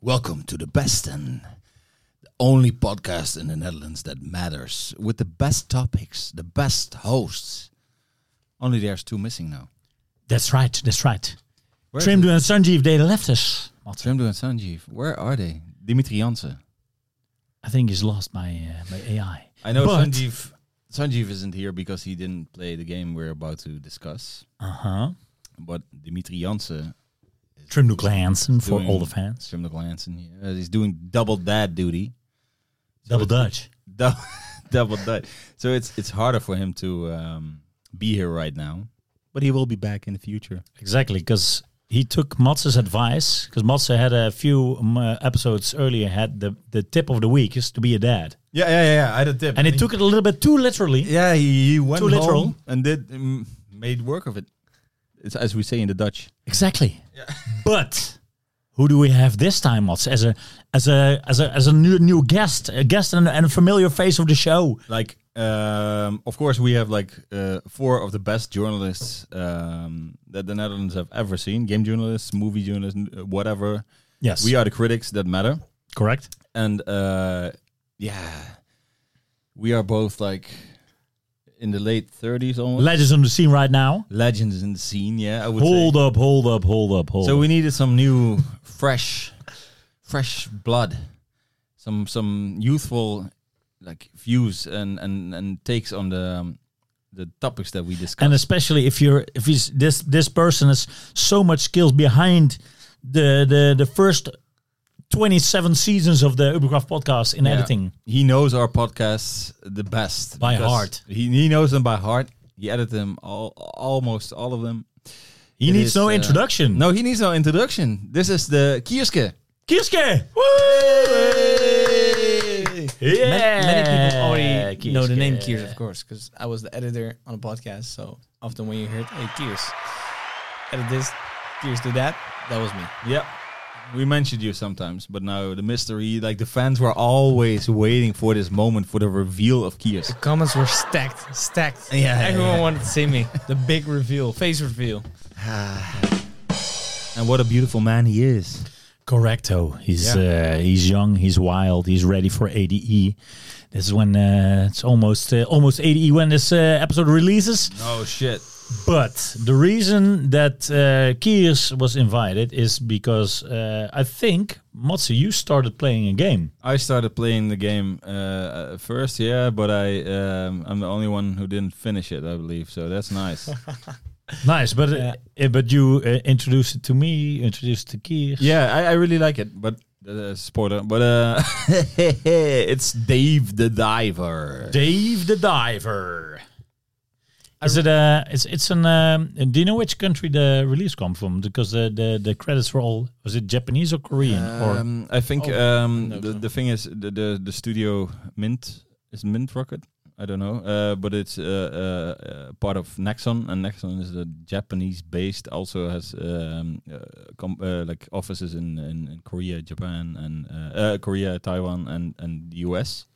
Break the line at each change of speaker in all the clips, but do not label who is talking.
Welcome to the best and the only podcast in the Netherlands that matters with the best topics, the best hosts. Only there's two missing now.
That's right. That's right.
Where is
Trimdu and Sanjeev, they left us.
it? Trimdu and Sanjeev. Where are they? Dimitri Jansen.
I think he's lost by, uh, by AI.
I know
But-
Sanjeev. Sanjeev isn't here because he didn't play the game we're about to discuss.
Uh
Uh-huh.
huh.
But Dimitri Jansen,
Trimdu Glanson for
Doing-
all the fans.
Trimdu Jansen, uh, he's doing double dad duty.
Double Dutch.
double, double Dutch. So it's it's harder for him to um, be here right now, but he will be back in the future.
Exactly, because he took Mats's advice. Because Mats had a few um, uh, episodes earlier had the, the tip of the week is to be a dad,
Yeah, yeah, yeah. I had a tip,
and he took it a little bit too literally.
Yeah, he, he went
Too literal.
home and did mm, made work of it. It's as we say in the Dutch.
Exactly. but who do we have this time, Mats? As a as a as a as a new new guest, a guest and, and a familiar face of the show.
Like, um, of course, we have like uh, four of the best journalists um, that the Netherlands have ever seen: game journalists, movie journalists, n- uh, whatever.
Yes,
We are the critics that matter.
correct.
and uh yeah we are both like in the late 30s almost
Legends on the scene right now.
legends in the scene yeah i would
Hold
say
up, hold up, hold up, hold
so
up.
we needed some new fresh fresh blood some some youthful like views and and and takes on the um, the topics that we discussed
and especially if you're if he's this this person has so much skills behind the the the first 27 seasons of the Ubercraft podcast in
Yeah.
editing.
He knows our podcasts the best
By
because
heart.
He, he knows them by heart. He edited them all, almost all of them.
He
It
needs
is,
no
uh,
introduction.
No, he needs no introduction. This is the Kierske.
Kierske! Yeah.
Ma- many people already
Kiers,
know the name
Eh, yeah.
Kiers, of course, because I was the editor on a podcast. So often when you heard, "Hey, Kiers, edit this, Kiers, do that," that was me.
Yeah. We mentioned you sometimes, but now the mystery, like the fans were always waiting for this moment for the reveal of Kiers.
Comments were stacked, stacked.
Yeah, yeah,
everyone
yeah.
wanted to see me. The big reveal, face reveal.
And what a beautiful man he is.
Correcto. He's uh, he's young. He's wild. He's ready for ADE. This is when uh, it's almost uh, almost ADE when this uh, episode releases.
Oh shit.
But the reason that uh, Kiers was invited is because uh, I think Matsu, you started playing a game.
I started playing the game uh, at first, yeah, but I um, I'm the only one who didn't finish it, I believe. So that's nice.
Nice, but
Yeah.
uh, uh, but you uh, introduced it to me. You introduced it to Kiers.
Yeah, I, I really like it, but uh, spoiler. But uh, it's Dave the Diver.
Dave the Diver. Is it uh It's it's an. Um, do you know which country the release come from? Because the the, the credits were all was it Japanese or Korean or
Um, I think
Oh,
um,
no
the,
clue.
the thing is the, the the studio Mint is Mint Rocket. I don't know, uh, but it's uh, uh, uh, part of Nexon, and Nexon is the Japanese-based. Also has um, uh, com- uh, like offices in, in, in Korea, Japan, and uh, uh, Korea, Taiwan, and and the US.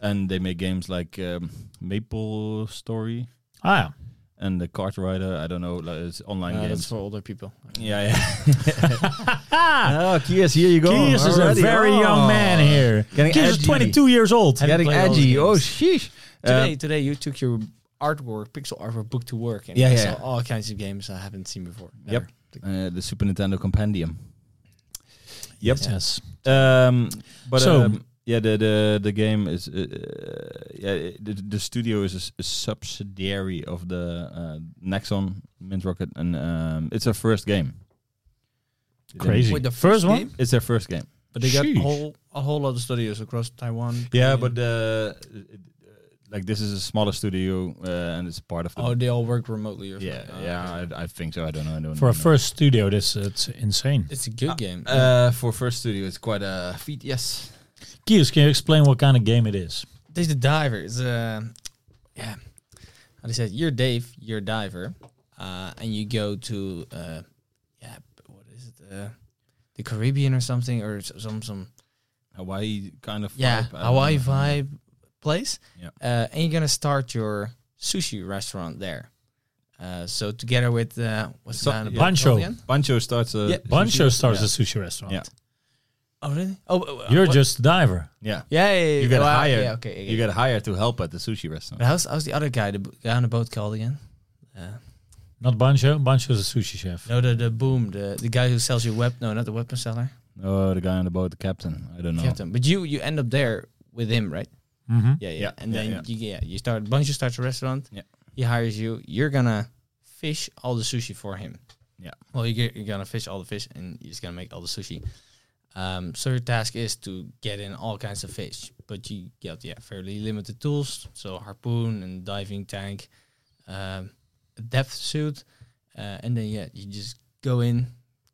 And they make games like um, Maple Story
ah
and the Kart Rider. I don't know, like, it's online
Uh, that's
games.
for older people.
Yeah, yeah.
ah
oh, Kiers, here you go.
Kiers is a
Already.
very young
Oh.
man here.
Getting
Kiers is
edgy.
22 years old.
Have you
Getting
played all those
edgy. Oh,
games?
sheesh.
Today,
Uh,
today you took your artwork, pixel artwork, book to work, and
Yeah,
yeah, I
yeah.
saw all kinds of games I haven't seen before.
Yep.
Never.
uh, the Super Nintendo Compendium. Yep.
Yes.
Um, but
So-
um, yeah, the the the game is uh, uh, yeah the, the studio is a, s- a subsidiary of the uh, Nexon, Mint Rocket, and um, it's their first game.
Crazy.
Wait, the
First
first
one?
game?
It's their first game.
But they got a
Sheesh.
whole a whole lot of studios across Taiwan.
Yeah,
Korea.
but uh, it- like this is a smaller studio uh, and it's part of the.
oh, they all work remotely or
yeah,
something. Oh, okay.
yeah, I, I think so. I don't know. I don't
For a
know.
first studio, this it's insane.
It's a good game.
uh, for first studio, it's quite a feat. Yes.
Kiers, can you explain what kind of game it is?
There's the diver. It's uh, yeah. How they said, you're Dave, you're a diver, uh, and you go to uh, yeah, b- what is it? Uh, the Caribbean or something, or s- some some
Hawaii kind of
yeah
vibe. I don't
Hawaii
know.
vibe place,
Yeah.
uh, and you're gonna start your sushi restaurant there. Uh, so together with uh, what's
So-
the man
yeah.
above
Pancho.
again?
Pancho starts a
Yeah,
sushi-
Bancho starts
yeah.
a sushi restaurant.
Yeah.
Oh really? Oh, uh,
You're
what-
just a diver.
Yeah.
yeah, yeah, yeah,
You get
well,
hired.
Yeah, okay.
You get hired to help at the sushi restaurant.
But how's how's the other guy, the b- guy on the boat called again? Uh,
Not Bancho. Bancho's a sushi chef.
no, the the boom, the the guy who sells you web. No, not the weapon seller.
Oh, the guy on the boat, the captain. I don't know.
Captain. But you you end up there with him, right?
Mm-hmm.
Yeah, yeah.
Yeah,
and
yeah,
then
yeah.
you yeah you start. Bunch you starts a restaurant.
Yeah.
He hires you. You're gonna fish all the sushi for him.
Yeah.
Well, you get, you're gonna fish all the fish, and you're just gonna make all the sushi. Um, so your task is to get in all kinds of fish, but you get yeah fairly limited tools, so harpoon and diving tank, um, a depth suit, uh, and then yeah you just go in,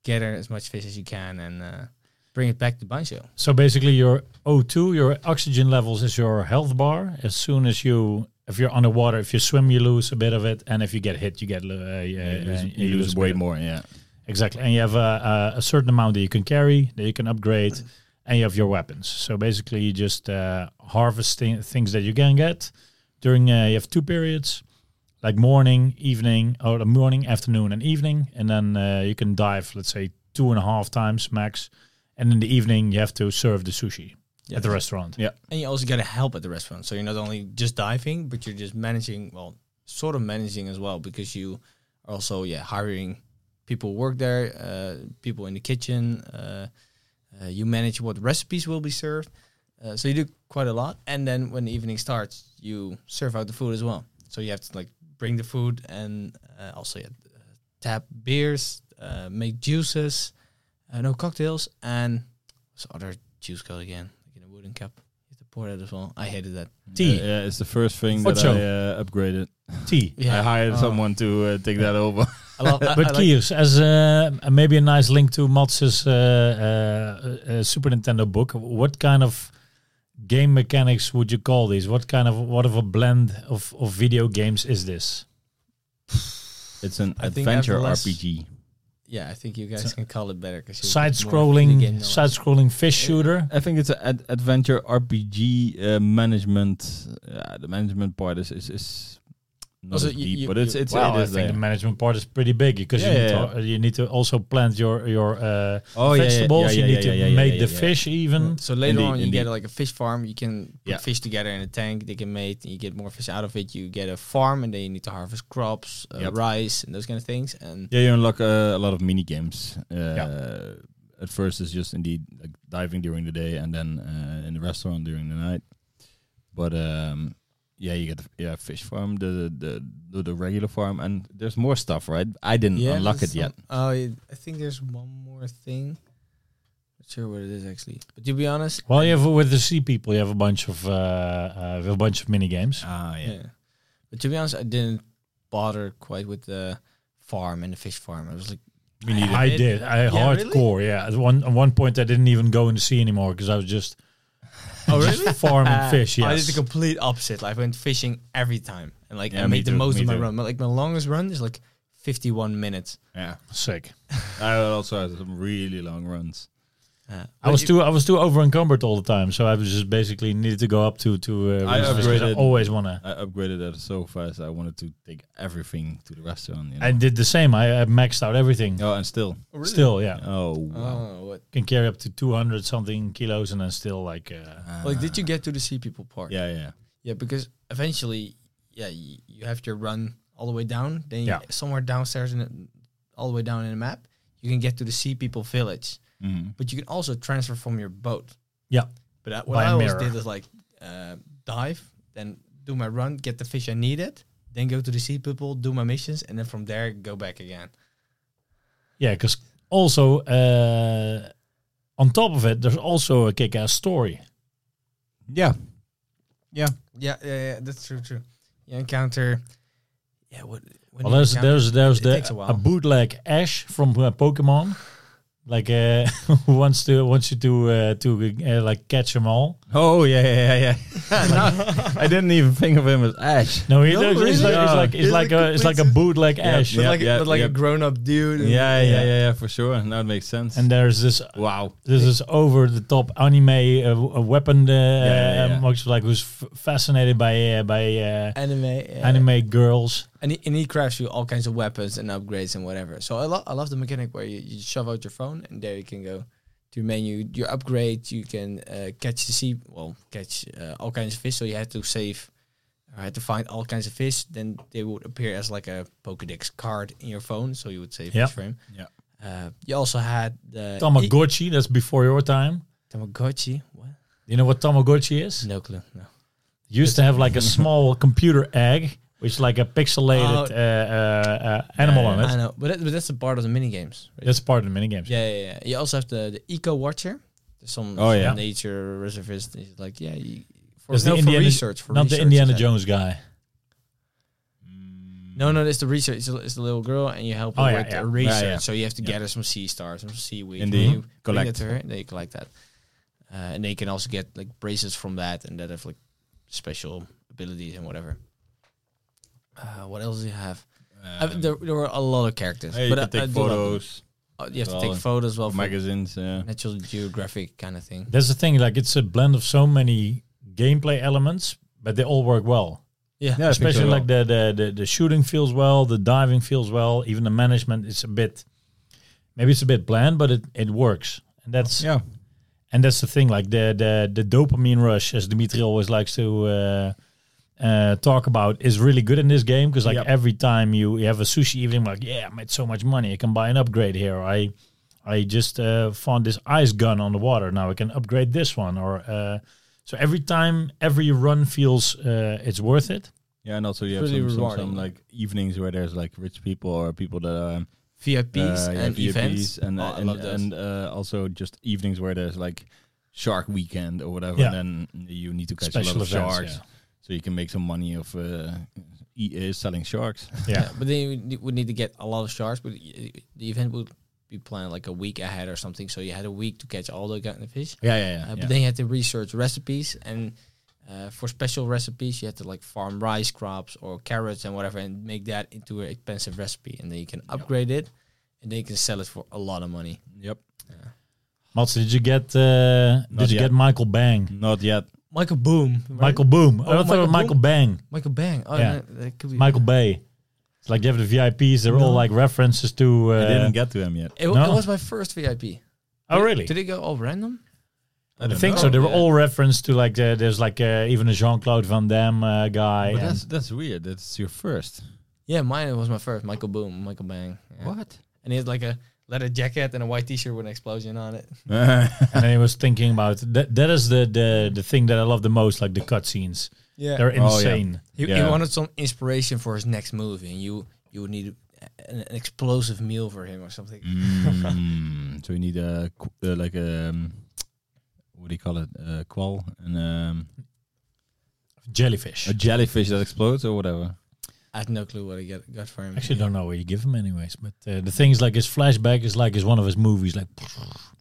gather as much fish as you can, and uh, bring it back to Banjo.
So basically, your O2, your oxygen levels, is your health bar. As soon as you, if you're underwater, if you swim, you lose a bit of it, and if you get hit, you get uh, yeah,
You lose,
uh,
you lose
a
way
bit.
more. Yeah.
Exactly, and you have a, a certain amount that you can carry, that you can upgrade, and you have your weapons. So basically, you just uh, harvesting things that you can get during. Uh, you have two periods, like morning, evening, or the morning, afternoon, and evening, and then uh, you can dive, let's say, two and a half times max. And in the evening, you have to serve the sushi at the restaurant.
Yeah.
And you also got to help at the restaurant. So you're not only just diving, but you're just managing, well, sort of managing as well because you are also, yeah, hiring people who work there, uh, people in the kitchen. Uh, uh, you manage what recipes will be served. Uh, so you do quite a lot. And then when the evening starts, you serve out the food as well. So you have to like bring the food and uh, also yeah, uh, tap beers, uh, make juices, uh, no cocktails, and what's the other juice called again? Like in a wooden cup. You have to pour that as well. I hated that.
Tea.
Uh, yeah, it's the first thing
What
that
show?
I uh, upgraded.
Tea.
I hired
Oh.
someone to uh, take that over.
I love, I, I
But
like-
Kiers, as uh, uh, maybe a nice link to Mats's uh, uh, uh, Super Nintendo book, what kind of game mechanics would you call these? What kind of what of a blend of, of video games is this?
It's an
I think
adventure
I've less-
RPG.
yeah, I think you guys can call it better. Cause you
Side
have more video game
scrolling,
knowledge.
side scrolling fish shooter.
I think it's an ad- adventure RPG uh, management. Uh, the management part is is, is not
Also,
as
you-
deep,
you-
but it's it's
Well,
it
I
is
think
there.
the management part is pretty big because
Yeah,
you, need
yeah,
To, uh, you need to also plant your your uh,
Oh, yeah, yeah,
vegetables.
yeah,
you
yeah,
need
yeah,
to
yeah, yeah,
make
yeah,
the
yeah.
fish even.
So later
Indeed,
on, you
indeed.
get like a fish farm. You can put
Yeah.
fish together in a tank. They can mate. And you get more fish out of it. You get a farm, and then you need to harvest crops, uh,
Yep.
rice, and those kind of things. And
Yeah, you unlock uh, a lot of mini games. Uh, At first, it's just indeed like diving during the day, and then uh, in the restaurant during the night. But um, yeah, you get yeah fish farm, the the the, the regular farm, and there's more stuff, right? I didn't unlock it
there's
yet.
some- Oh, yeah, I think there's one more thing. Not sure what it is actually. But to be honest,
Well, you have with the sea people, you have a bunch of uh, uh, a bunch of mini games.
Ah,
yeah. But to be honest, I didn't bother quite with the farm and the fish farm. I was like,
We
I,
need
I did. I hardcore. Yeah. At one at one point, I didn't even go in the sea anymore because I was just
oh
just farming
Uh,
fish.
I did the
Yes.
complete opposite. Like, I went fishing every time, and like
Yeah,
I
me
made the
too,
most
me
of my
too.
run. But like my longest run is like 51 minutes.
yeah.
Sick.
I also had some really long runs.
Uh,
I was too. I was too over encumbered all the time, so I was just basically needed to go up to to.
I
Uh, reach fish 'cause I
upgraded.
always wanna.
I upgraded that so fast. I wanted to take everything to the restaurant. You know?
I did the same. I, I maxed out everything.
oh, and still.
Still, yeah,
Oh, wow.
Oh, what?
can carry up to two hundred something kilos, and then still like. Uh,
Ah.
Like, did you get to the sea people part?
yeah, yeah.
Yeah, because eventually, yeah, you, you have your run all the way down. Then you,
Yeah.
somewhere downstairs, in the, all the way down in the map, you can get to the sea people village.
Mhm.
But you can also transfer from your boat.
yeah,
But I, what
By
I
a
always
mirror.
did is like uh, dive, then do my run, get the fish I needed, then go to the sea people, do my missions, and then from there go back again.
yeah, because also uh, on top of it, there's also a kick-ass story.
Yeah.
Yeah, yeah, yeah that's true, true. You encounter, yeah, what? When
Well,
you
there's
encounter-
there's there's
It
the
takes a
a,
while.
bootleg Ash from uh, Pokemon, like uh, who wants to wants you to uh, to uh, like catch them all.
Oh yeah, yeah, yeah. yeah. I didn't even think of him as Ash.
No, he
No,
looks- it's
really?
like it's like, it's
It's
like
like
a it's like a
complete-
bootleg Ash.
but
yeah,
like,
yeah,
but like
yeah.
a grown-up dude. and-
Yeah, yeah,
Yeah.
yeah, yeah, for sure. Now it makes sense.
And there's this
wow,
this is over the top anime uh, w- uh, weapon uh,
yeah, yeah.
uh, much like who's f- fascinated by uh, by uh,
Anime, yeah.
anime girls.
Uh,
and he, and he crafts you all kinds of weapons and upgrades and whatever. So I love I love the mechanic where you, you shove out your phone and there you can go to your menu, your upgrade. You can uh, catch the sea, well, catch uh, all kinds of fish. So you had to save, or had to find all kinds of fish. Then they would appear as like a Pokedex card in your phone. So you would save
Yeah.
each frame.
Yeah.
Uh, you also had the e-
Tamagotchi, that's before your time.
Tamagotchi. What?
You know what Tamagotchi is?
No clue. No.
Used to have like a small computer egg, which is like a pixelated
Oh.
uh, uh, uh, animal
yeah,
on it.
I know, but, that, but that's a part of the mini games. Right?
That's part of the minigames.
Yeah, yeah, yeah. You also have the, the Eco Watcher. There's some,
Oh,
some
yeah.
nature reservist. He's like, yeah, you, for,
That's the
no, for
Indiana-
research. For
Not
research,
the Indiana
exactly.
Jones guy.
No, no, it's the research. It's a, it's the little girl, and you help her
Oh, yeah,
with
yeah.
the research.
Yeah, yeah.
So you have to
Yeah.
gather some sea stars, some seaweed,
And
and
they
you collect
collect.
it to her. And they collect that, uh, and they can also get like braces from that, and that have like special abilities and whatever. Uh, what else do you have? Uh,
Um,
there, there were a lot of characters,
hey, you
but
can
I,
take
I do love them.
photos,
Uh, you have
well,
to take photos as well.
of
For
magazines. Yeah.
Natural Geographic kind of thing.
That's the thing. Like it's a blend of so many gameplay elements, but they all work well.
Yeah,
Yeah, I think
Especially
so.
like the, the the the shooting feels well, the diving feels well, even the management is a bit. Maybe it's a bit bland, but it, it works, and that's
Yeah.
and that's the thing. Like the the the dopamine rush, as Dimitri always likes to. Uh, uh, talk about is really good in this game because like
Yep.
every time you, you have a sushi evening like yeah I made so much money I can buy an upgrade here I I just uh, found this ice gun on the water now I can upgrade this one or uh, so every time every run feels uh, it's worth it
Yeah, and also you have
really
some, some,
rewarding.
some like evenings where there's like rich people or people that are
VIPs
uh, yeah,
and
VIPs
events.
and
Oh,
uh,
I
and,
love those.
and uh, also just evenings where there's like shark weekend or whatever.
Yeah.
And then you need to catch a
special
lot of
events
sharks, so you can make some money of uh, e- uh, selling sharks.
yeah, yeah.
Yeah, but then you would ne- would need to get a lot of sharks. But y- y- the event would be planned like a week ahead or something, so you had a week to catch all the kind of fish.
yeah, yeah,
Uh, But then you had to research recipes, and uh, for special recipes, you had to like farm rice crops or carrots and whatever, and make that into an expensive recipe, and then you can upgrade it, and then you can sell it for a lot of money.
Yep.
Mats, did you get uh,
Not
did you
yet.
get Michael Bang
Not yet.
Michael Boom,
Michael Boom I
Oh,
thought Michael,
Michael
Michael Bang
Michael Bang. Oh,
Yeah.
yeah, that could be
Michael Bay it's like you have the VIPs they're all
No.
like references to
I
uh,
didn't get to him yet.
It, w-
No.
it was my first VIP.
oh really
Did it go all random?
I,
I
don't
think
know.
so. They were
yeah.
all referenced to like the, there's like uh, even a Jean Claude Van Damme uh, guy.
But
and-
that's that's weird. That's your first.
Yeah, mine was my first. Michael Boom, Michael Bang. Yeah.
What?
and he had like a leather jacket and a white t-shirt with an explosion on it.
and I was thinking about that. That is the the the thing that I love the most, like the cutscenes.
Yeah,
They're
Oh, yeah.
insane.
he, he
Yeah.
wanted some inspiration for his next movie, and you you would need a- an, an explosive meal for him or something.
Mm, so you need a qu- uh, like a um, what do you call it? A qual and um,
Jellyfish.
a jellyfish that explodes or whatever.
I have no clue what I get, got for him.
Actually, I don't know where you give him, anyways. But uh, the thing is, like his flashback is like is one of his movies. Like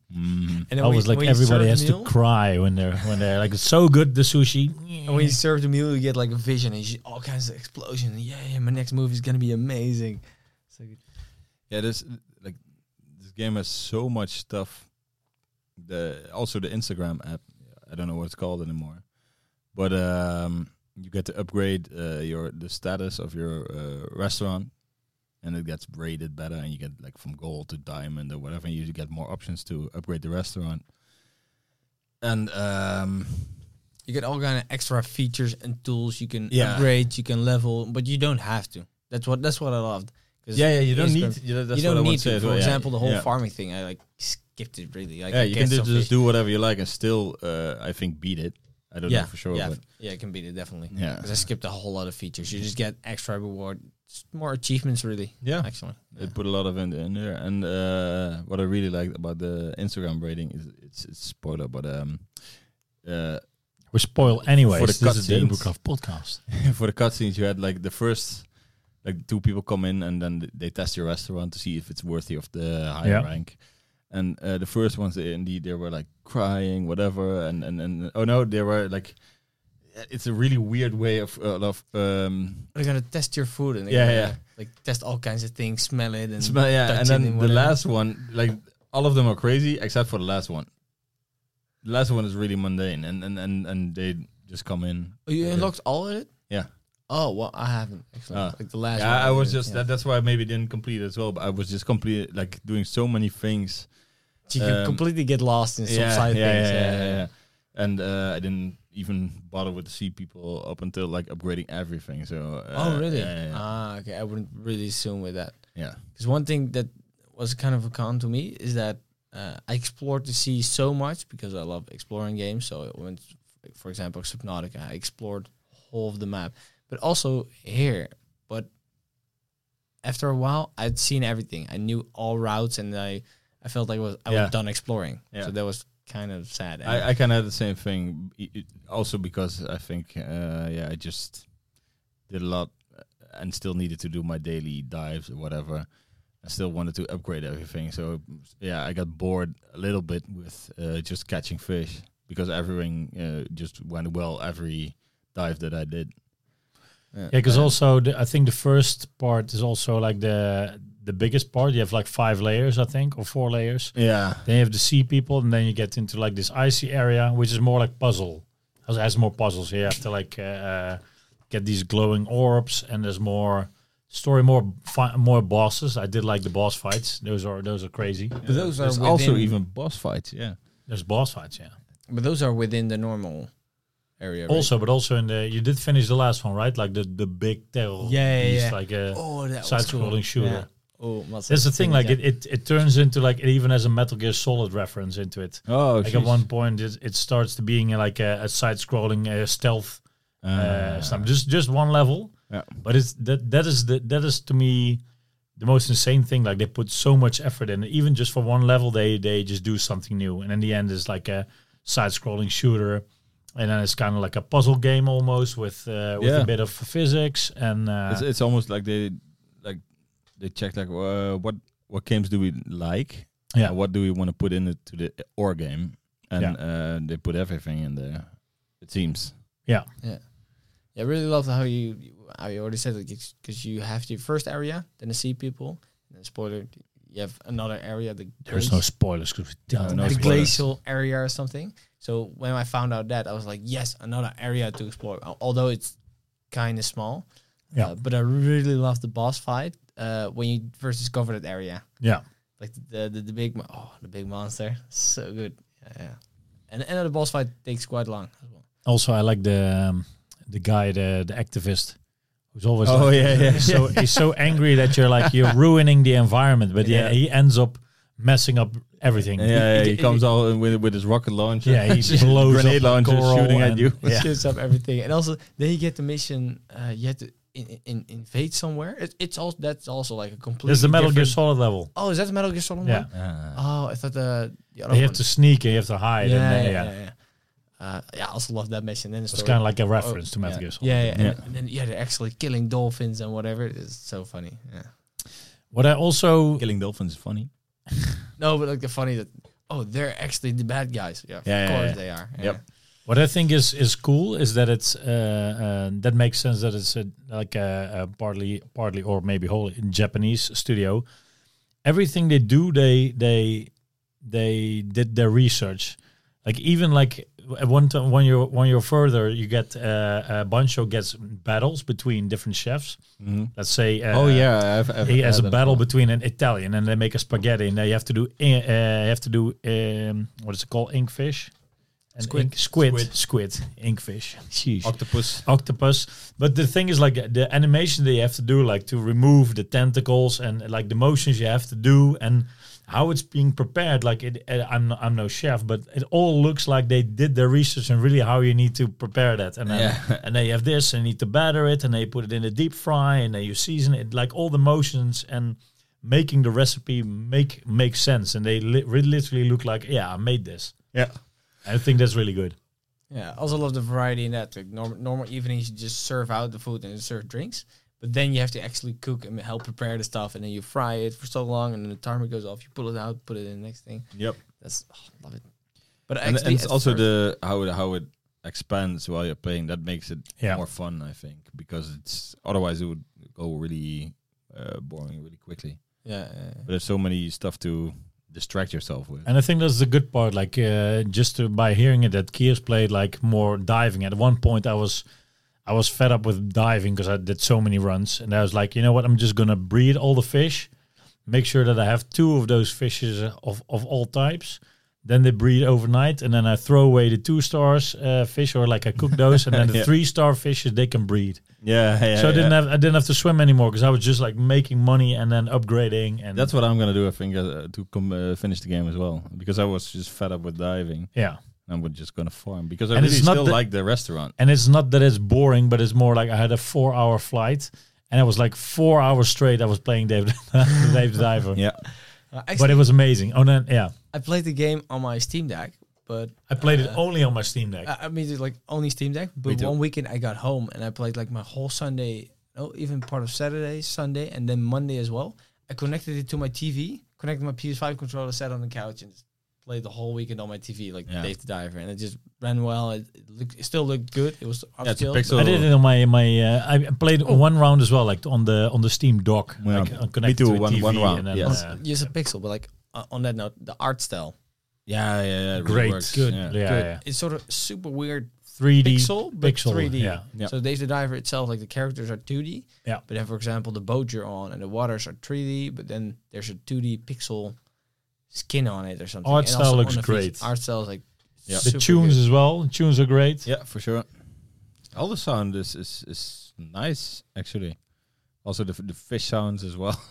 Mm.
And
I
then when
was
you-
like
when you
everybody
serve
has
the
to
meal-
cry when they're when they're like it's so good the sushi.
And when you serve the meal, you get like a vision and you see all kinds of explosions. and, Yeah, yeah, my next movie is gonna be amazing. So good.
Yeah, this like this game has so much stuff. The also the Instagram app, I don't know what it's called anymore, but um, you get to upgrade uh, your the status of your uh, restaurant, and it gets rated better, and you get like from gold to diamond or whatever. And you get more options to upgrade the restaurant, and um,
you get all kind of extra features and tools. You can
Yeah.
upgrade, you can level, but you don't have to. That's what that's what I loved. 'Cause
yeah, yeah, you don't
Instagram-
need you,
you
that's what I
don't
want
need
to. say
to.
as
For
well, yeah.
example, the whole
Yeah.
farming thing, I like skipped it really. Like,
yeah,
I
you can
catch
do,
some
just
fish.
do whatever you like and still, uh, I think, beat it. I don't
yeah,
know for sure,
Yeah,
but
yeah, it can beat it definitely.
yeah,
Because I skipped a whole lot of features. You just get extra reward, s- more achievements really.
yeah.
Actually,
They put a lot of in, in there, and uh, what I really liked about the Instagram rating is it's, it's spoiler, but um, uh,
We spoil anyways.
For the
this is the
cutscenes.
Inbrook podcast.
for the cutscenes you had like the first like two people come in and then th- they test your restaurant to see if it's worthy of the higher
Yeah.
rank. And uh, the first ones, they, indeed, they were like crying, whatever, and and and oh no, they were like, it's a really weird way of uh, of um,
they're gonna test your food and they're
Yeah,
gonna,
yeah.
like test all kinds of things, smell it, and
Smell, yeah, and
touch it
then the
whatever.
last one, like all of them are crazy except for the last one. The last one is really mundane, and and and, and they just come in.
Oh, you
Yeah.
unlocked all of it.
Yeah.
Oh well, I haven't actually.
Ah.
like the last.
Yeah,
one
I was
did,
just
yeah.
that. That's why I maybe didn't complete it as well. But I was just complete like doing so many things
You can
Um,
completely get lost in some
yeah,
side
yeah,
things.
yeah,
yeah,
yeah, yeah. And uh, I didn't even bother with the sea people up until like upgrading everything. So uh,
oh, really?
Yeah, yeah, yeah.
Ah, okay. I wouldn't really assume with that.
Yeah.
Because one thing that was kind of a con to me is that uh, I explored the sea so much because I love exploring games. So I went, for example, Subnautica. I explored whole of the map, but also here. But after a while, I'd seen everything. I knew all routes, and I, I felt like I was I
Yeah.
was done exploring.
Yeah.
So that was kind of sad. And
I, I kind of had the same thing, i- i- also because I think, uh, yeah, I just did a lot uh, and still needed to do my daily dives or whatever. I still wanted to upgrade everything, so yeah, I got bored a little bit with uh, just catching fish because everything uh, just went well every dive that I did.
Yeah, because
Uh,
also the, I think the first part is also like the the biggest part. You have like five layers, I think, or four layers.
yeah,
Then you have the sea people, and then you get into like this icy area, which is more like puzzle. Has, has more puzzles. You have to like uh, uh, get these glowing orbs, and there's more story, more fi- more bosses. I did like the boss fights. Those are those are crazy.
but those are
There's also
within-
even boss fights. Yeah,
There's boss fights, yeah.
but those are within the normal area. right?
Also, but also in the you did finish the last one, right? Like the the big terror.
Yeah, yeah,
beast,
yeah.
Like a
oh, that was
side-scrolling
cool.
shooter.
Yeah. Oh, must
That's the
have
thing.
seen
Like
yeah.
it, it, it turns into like it even has a Metal Gear Solid reference into it.
Oh,
Like at one point, it, it starts to being uh, like a, a side-scrolling uh, stealth uh, stuff. Just just one level,
Yeah.
but it's that that is the that is to me the most insane thing. Like they put so much effort in, it. even just for one level, they they just do something new, and in the end, it's like a side-scrolling shooter, and then it's kind of like a puzzle game almost with uh, with
Yeah.
a bit of physics and uh,
it's, it's almost like they like they check like uh, what what games do we like
Yeah.
and what do we want to put in it to the or game and
Yeah.
uh, they put everything in there it seems
Yeah, I really love how you, you- how you already said it because you have the first area, then the sea people, and then spoiler, you have another area. The
there's
glaci-
no spoilers because we don't.
No
the
spoilers.
glacial area or something. So when I found out that, I was like, yes, another area to explore. al- Although it's kind of small,
Yeah.
Uh, but I really love the boss fight uh, when you first discover that area,
Yeah.
like the the, the big mo- oh the big monster, so good. Yeah, yeah. and and the boss fight takes quite long as well.
Also, I like the um, the guy, the the activist, who's always
Oh,
like-
yeah, yeah.
he's so he's so angry that you're like you're ruining the environment, but yeah,
Yeah.
he ends up messing up everything.
yeah, he
it-
comes out with with his rocket launcher
Yeah, he
Just
blows up
grenade
the
launcher
coral
shooting at
and-
you
Yeah.
shoots up everything. And also, then you get the mission. Uh, you have to in, in, invade somewhere. It, it's also that's also like a complete.
There's the Metal Gear Solid level.
Oh, is that the Metal Gear Solid
Yeah.
one?
Ah.
Oh, I thought the the other
They have
one.
to sneak and you have to hide.
yeah,
and,
yeah,
uh,
yeah. yeah. Uh, yeah, I also love that mission. Then the
It's
story-
kind of like a reference
Oh,
to Metal
yeah.
Gear Solid.
Yeah, yeah, and-
Yeah.
And, then yeah, they're actually killing dolphins and whatever. It's so funny. Yeah.
What I also
killing dolphins is funny
No, but like the funny that oh, they're actually the bad guys. Yeah, of
Yeah, yeah,
course
yeah.
they are.
Yep.
what I think is is cool is that it's uh, uh, that makes sense that it's a, like a, a partly partly or maybe whole in Japanese studio. Everything they do, they they they did their research. Like even like w- at one time when you're when you're further, you get uh, uh, Bancho gets battles between different chefs. Let's say uh,
oh yeah I've, I've
he has
had
a
that as
battle
well.
between an Italian and they make a spaghetti and they have to do uh, uh, have to do um, what is it called inkfish and
Squid.
ink- squid squid squid inkfish Sheesh.
octopus
octopus but the thing is like the animation they have to do like to remove the tentacles and like the motions you have to do and how it's being prepared like it uh, I'm I'm no chef but it all looks like they did their research and really how you need to prepare that and then,
Yeah.
and they have this and you need to batter it and they put it in a deep fry and then you season it like all the motions and making the recipe make make sense and they li- really literally look like yeah I made this
yeah
I think that's really good
Yeah, I also love the variety in that. Like normal normal evenings, you just serve out the food and serve drinks, but then you have to actually cook and help prepare the stuff, and then you fry it for so long, and then the timer goes off. You pull it out, put it in the next thing.
yep
That's oh, love it. But
and,
actually,
and it's
at
also
first-
the how it, how it expands while you're playing that makes it
Yeah.
more fun I think because it's otherwise it would go really uh, boring really quickly
yeah, yeah, yeah.
But there's so many stuff to distract yourself with.
And I think that's the good part. Like uh, just to, by hearing it, that Kiers played like more diving. At one point, I was I was fed up with diving because I did so many runs, and I was like, you know what? I'm just gonna breed all the fish, make sure that I have two of those fishes uh, of, of all types. Then they breed overnight, and then I throw away the two stars uh, fish, or like I cook those, and then the
Yeah.
three star fishes they can breed.
Yeah, yeah.
so I didn't
yeah.
have I didn't have to swim anymore because I was just like making money and then upgrading and
That's what I'm gonna do. I think uh, to come uh, finish the game as well because I was just fed up with diving.
yeah.
and we're just gonna farm because I
And
really
it's not
still
that-
like the restaurant.
And it's not that it's boring, but it's more like I had a four hour flight, and I was like four hours straight. I was playing Dave Dave the Diver,
Yeah,
Uh,
but
actually,
it was amazing. Oh, then yeah,
I played the game on my Steam Deck, but
I played it only on my Steam Deck.
I I mean, it's like only Steam Deck.
Me
But
too.
one weekend I got home and I played like my whole Sunday, oh, even part of Saturday, Sunday, and then Monday as well. I connected it to my TV, connected my PS5 controller, sat on the couch and just played the whole weekend on my TV, like
Yeah.
Dave the Diver, and it just ran well. It, it, looked, it still looked good. It was
yeah it's a
upscaled.
pixel.
I did it on my my. Uh, I played one round as well, like on the on the Steam dock.
Yeah.
Like, uh,
Oh. Me
connected
too,
to a
one-
TV
one round,
And then,
yes.
uh,
Use a pixel, but like uh, on that note, the art style,
Yeah, yeah, yeah. it really
great,
works.
good.
Yeah.
Yeah, yeah.
it's sort of super weird
3D
pixel, but
pixel,
3D.
yeah.
Yeah.
So Dave the Diver itself, like the characters are 2D.
Yeah.
But then, for example, the boat you're on and the waters are 3D, but then there's a 2D pixel skin on it or something.
Art
And
style
also
looks
on the fish,
great.
Art style is like
Yeah.
The
super
tunes
good.
as well. Tunes are great.
Yeah, for sure. All the sound is is, is nice actually. Also the f- the fish sounds as well.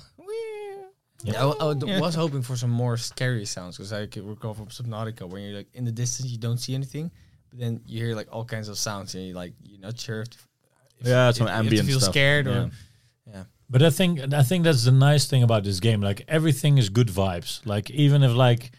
Yeah, I, I d- was hoping for some more scary sounds because I could recall from Subnautica when you're like in the distance you don't see anything, but then you hear like all kinds of sounds and you're like you're not sure if, if
Yeah,
if
some
you have to
ambient
feel
stuff.
scared
Yeah.
or
But I think I think that's the nice thing about this game. Like everything is good vibes. Like even if like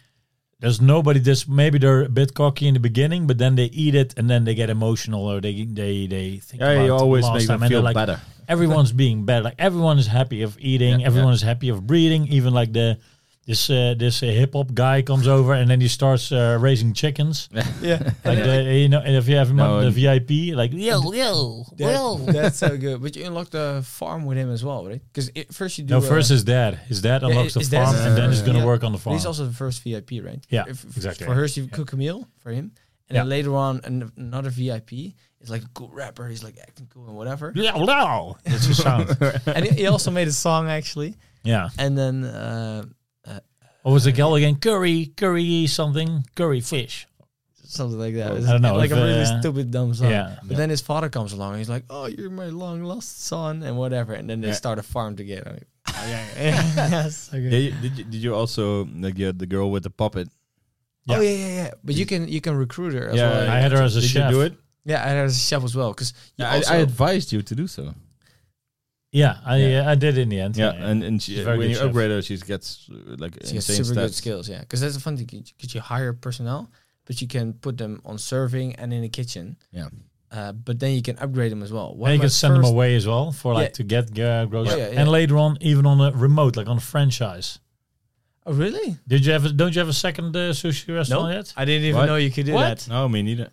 there's nobody this maybe they're a bit cocky in the beginning, but then they eat it and then they get emotional or they they they think
Yeah,
about
you always
last
make
time
them
and they're
feel
like,
better.
everyone's being bad. Like everyone is happy of eating.
Yeah,
everyone is happy of breathing. Even like the this uh, this uh, hip hop guy comes over and then he starts uh, raising chickens.
yeah,
Like the, you know, and if you have him
No,
on the
and-
VIP, like yo yo
That,
yo.
that's so good. But you unlock the farm with him as well, right? Because first you do.
No,
uh,
first his dad. His dad
Yeah,
unlocks
his
the
dad's
farm,
the
and then he's
first,
gonna
yeah.
work on the
but
farm.
he's also the first VIP, right?
Yeah,
If- f-
exactly,
For
yeah.
her, she cook a meal for him, and then later on, an, another VIP is like a cool rapper. He's like acting cool and whatever.
Yeah, wow. That's his sound.
and he, he also made a song actually.
yeah.
And then uh,
What was the girl again? Curry, curry something, curry fish.
something like that.
Oh,
It's
I don't know
Like
if,
a really
uh,
stupid dumb song.
yeah.
But then his father comes along and he's like, "Oh, you're my long lost son," and whatever. And then they
Yeah.
start a farm together. yes. Okay.
Yeah, you, did you, did you also like you had the girl with the puppet?
Oh yeah, yeah, yeah. But you can you can recruit her. As
Yeah,
well.
I had her as a
did
chef.
you do it?
Yeah, I had her as a chef as well because
Yeah, I, I advised you to do so.
Yeah, I
Yeah.
uh, I did in the end.
Yeah, and and she,
She's a very
when
good
you
chef.
upgrade her, she gets uh, like
she has
insane
super good
stats.
skills. Yeah, because that's the fun thing. Because you hire personnel, but you can put them on serving and in the kitchen.
Yeah.
Uh, but then you can upgrade them as well. One
and you
of my
can send them
first-
away as well for like
Yeah.
to get uh, groceries.
Yeah, yeah,
And
yeah.
later on, even on a remote, like on a franchise.
Oh really?
Did you have? A, don't you have a second uh, sushi restaurant yet?
I didn't even
What?
know you could do
What?
that.
No, me neither.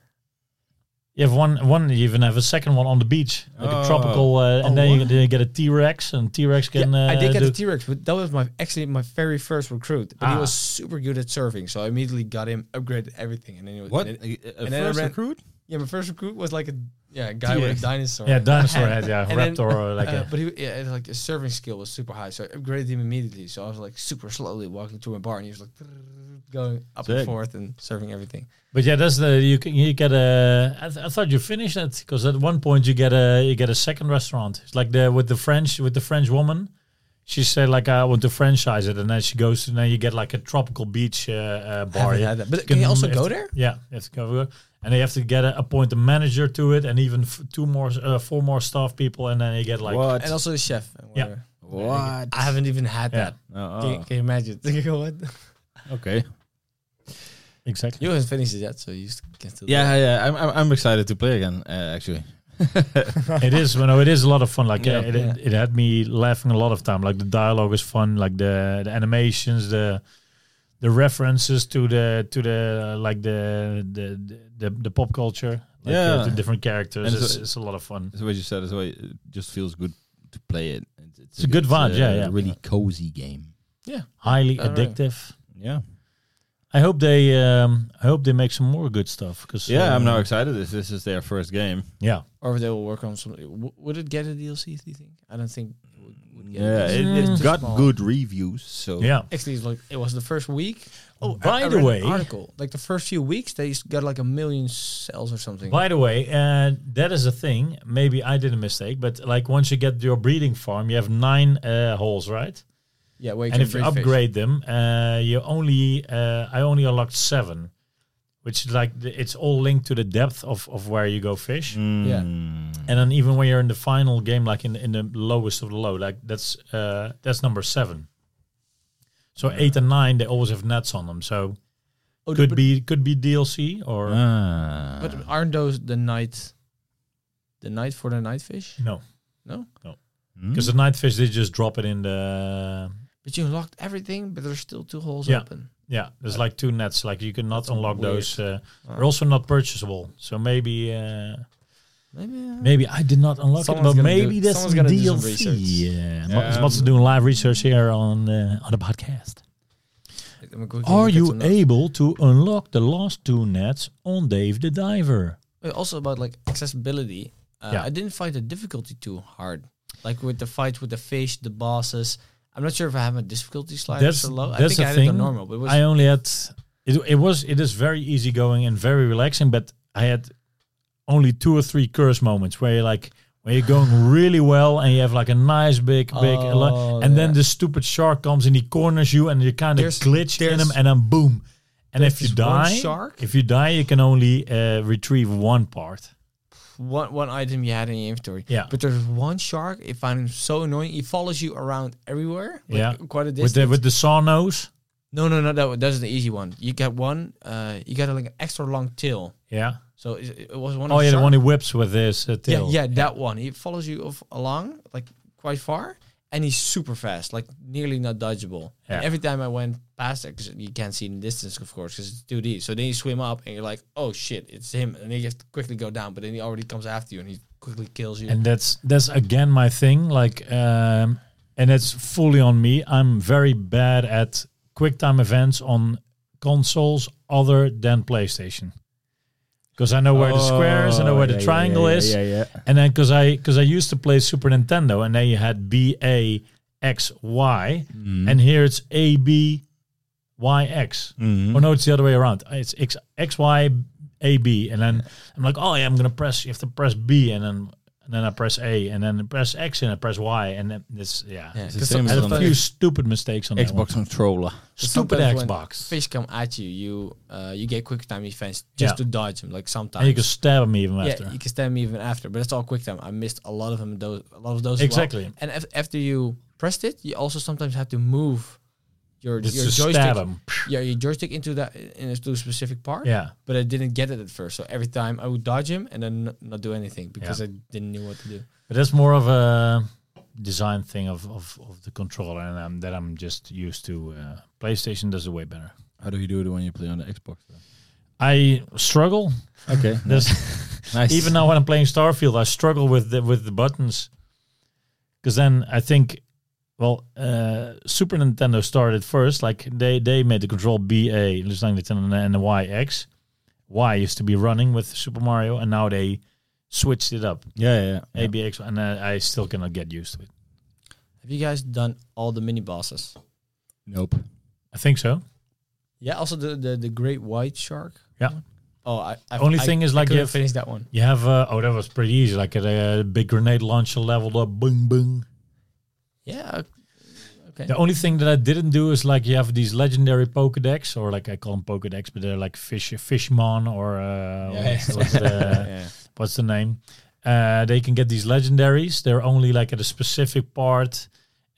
You have one. One. You even have a second one on the beach, like a
Oh.
tropical. Uh, and
Oh,
then you,
wow.
then you get a T Rex, and T Rex can.
yeah,
uh,
I did get
do-
a T Rex, but that was my actually my very first recruit. But
Ah.
he was super good at serving, so I immediately got him, upgraded everything, and then he was,
What?
and it-
A, a
and then I
first
ran-
recruit?
yeah, my first recruit was like a yeah a guy with
T-Rex.
a dinosaur.
yeah, dinosaur head. Yeah,
And then,
raptor. or like
Uh,
a,
but he, yeah, it's like his serving skill was super high, so I upgraded him immediately. So I was like super slowly walking to a bar, and he was like going up
Sick.
and forth and serving everything.
But yeah, that's the you can you get a. I, th- I thought you finished it because at one point you get a you get a second restaurant. It's like the with the French with the French woman. She said like I want to franchise it, and then she goes and then you get like a tropical beach uh, uh,
I haven't
bar. Yeah,
had that. But can you also
have
go
to-
there?
yeah, you have to go there. and they have to get a, appoint a manager to it, and even f- two more uh, four more staff people, and then you get like
what?
And also a chef. and
Yeah.
whatever.
What?
I haven't even had
Yeah.
that.
Oh,
Can, you- can you imagine? what?
oh, okay.
exactly.
You haven't finished it yet, so you st- can still. do it.
Yeah, yeah. I'm I'm, I'm excited to play again. Uh, actually.
it is well, no, it is a lot of fun. Like uh,
Yeah.
it,
Yeah.
it had me laughing a lot of time. Like the dialogue is fun. Like the, the animations, the the references to the to the uh, like the the the, the, the pop culture. Like,
Yeah.
the different characters.
And
It's,
so-
it's a lot of fun.
So what you said is why it just feels good to play it. It's,
It's a good vibe, yeah, yeah.
Really cozy game.
Highly
All right.
addictive.
Yeah.
I hope they um, I hope they make some more good stuff. Cause
Yeah,
uh,
I'm now excited. This this is their first game.
Yeah,
Or if they will work on something. W- would it get a DLC? Do you think? I don't think. it would- would couldn't get
Yeah,
it.
it,
It's
it
too
got
small.
good reviews. So
Yeah.
Actually, it's like it was the first week. Oh, I-
By the
I read an
way-
article like the first few weeks they s- got like a million sales or something.
By the way, uh, that is a thing. Maybe I did a mistake, but like once you get your breeding farm, you have nine uh, holes, right?
Yeah, wait.
and if you upgrade them, uh, you only uh, I only unlocked seven, which is like the, it's all linked to the depth of of where you go fish.
Mm.
Yeah.
And then even when you're in the final game, like in in the lowest of the low, like that's uh, that's number seven. So eight and nine, they always have nets on them. So
oh,
could
but,
be could be DLC or
Ah.
But aren't those the night, the night for the night fish?
no,
No,
Hmm?
because the night fish they just drop it in the
but you unlocked everything, but there's still two holes
Yeah.
open.
yeah. There's like two nets. Like you cannot
That's
unlock
weird.
those. Uh,
Ah.
They're also not purchasable. So maybe. Uh,
Maybe. uh,
Maybe I did not unlock
Someone's
it, but
gonna
maybe
do-
that's
someone's gonna do some
DLC.
research.
Yeah,
Yeah.
yeah. Mats is doing live research here on uh, on the podcast.
I'm a good-
Are
get
you
some notes.
able to unlock the last two nets on Dave the Diver?
Wait, also about like accessibility. Uh,
Yeah.
I didn't find the difficulty too hard. Like with the fight with the fish, the bosses. I'm not sure if I have a difficulty slider
That's-
so low. I
that's
think
the
I had it on
thing.
normal, but it was
I only had it. It was it is very easygoing and very relaxing, but I had only two or three curse moments where you're like where you're going really well and you have like a nice big big
Oh,
and then
yeah.
the stupid shark comes and he corners you and you kind of
There's-
glitch in
there's-
him and then boom. And if you
this one
die,
shark?
if you die, you can only uh, retrieve one part.
one one item you had in your inventory.
Yeah.
But there's one shark. I find him so annoying. He follows you around everywhere. like,
Yeah.
Quite a distance.
With the with the saw nose,
no, no, no. That wa- that's the easy one. You got one. Uh, you got like an extra long tail.
yeah.
So it, it was one.
Oh
of
yeah, the
shark-
one he whips with his uh, tail.
Yeah, yeah, that one. He follows you of, along like quite far, and he's super fast, like nearly not dodgeable. And
Yeah.
every time I went past it, because you can't see in the distance, of course, because it's 2D. So then you swim up, and you're like, oh shit, it's him, and then you have to quickly go down. But then he already comes after you, and he quickly kills you.
and that's that's again my thing like um and it's fully on me i'm very bad at quick time events on consoles other than playstation because i know where the square is i know where the triangle is
Oh, Yeah, yeah.
and then because i because i used to play super nintendo and then you had b a x y
Mm-hmm.
and here it's a b y x
Mm.
Oh no, it's the other way around. It's X X Y A B, and then I'm like, oh yeah, I'm gonna press. You have to press B, and then and then I press A, and then I press X, and I press Y, and then this yeah.
yeah,
It's the
'cause
same as
I had
on
sometimes
a
the
few
fish-
stupid mistakes on that one.
Xbox controller.
Stupid
sometimes when
Xbox.
Fish come at you. You uh, you get quick time events just
Yeah.
to dodge them. Like
And you can
sometimes,
stab me even after.
yeah, you can stab me even after. But it's all quick time. I missed a lot of them. Those a lot of those as well.
exactly.
And af- after you pressed it, you also sometimes had to move your
It's
your
to stab
joystick.
him.
Yeah, your joystick into that into a specific part.
Yeah,
But I didn't get it at first, so every time I would dodge him and then n- not do anything because I didn't know what to do.
but that's more of a design thing of of, of the controller, and um, that I'm just used to. Uh, PlayStation does it way better.
How do you do it when you play on the Xbox?
I struggle.
Okay,
There's
nice.
even now when I'm playing Starfield, I struggle with the, with the buttons because then I think, well, uh, Super Nintendo started first. Like they they made the control B A, just like Nintendo and the Y X. Y used to be running with Super Mario, and now they switched it up
yeah, yeah, yeah.
A B X, and uh, I still cannot get used to it.
Have you guys done all the mini bosses?
Nope.
I think so.
Yeah. Also the the, the great white shark.
Yeah.
one. Oh, I, I
Only
I-
thing is
I
like you
couldn't
have-
finish that one.
You have uh, oh that was pretty easy. Like a, uh big grenade launcher leveled up, boom boom.
Yeah. Okay.
The only thing that I didn't do is like you have these legendary Pokedex, or like I call them Pokedex, but they're like fish, fishmon, or uh, what's, what's the,
Yeah.
what's the name? Uh, they can get these legendaries. They're only like at a specific part,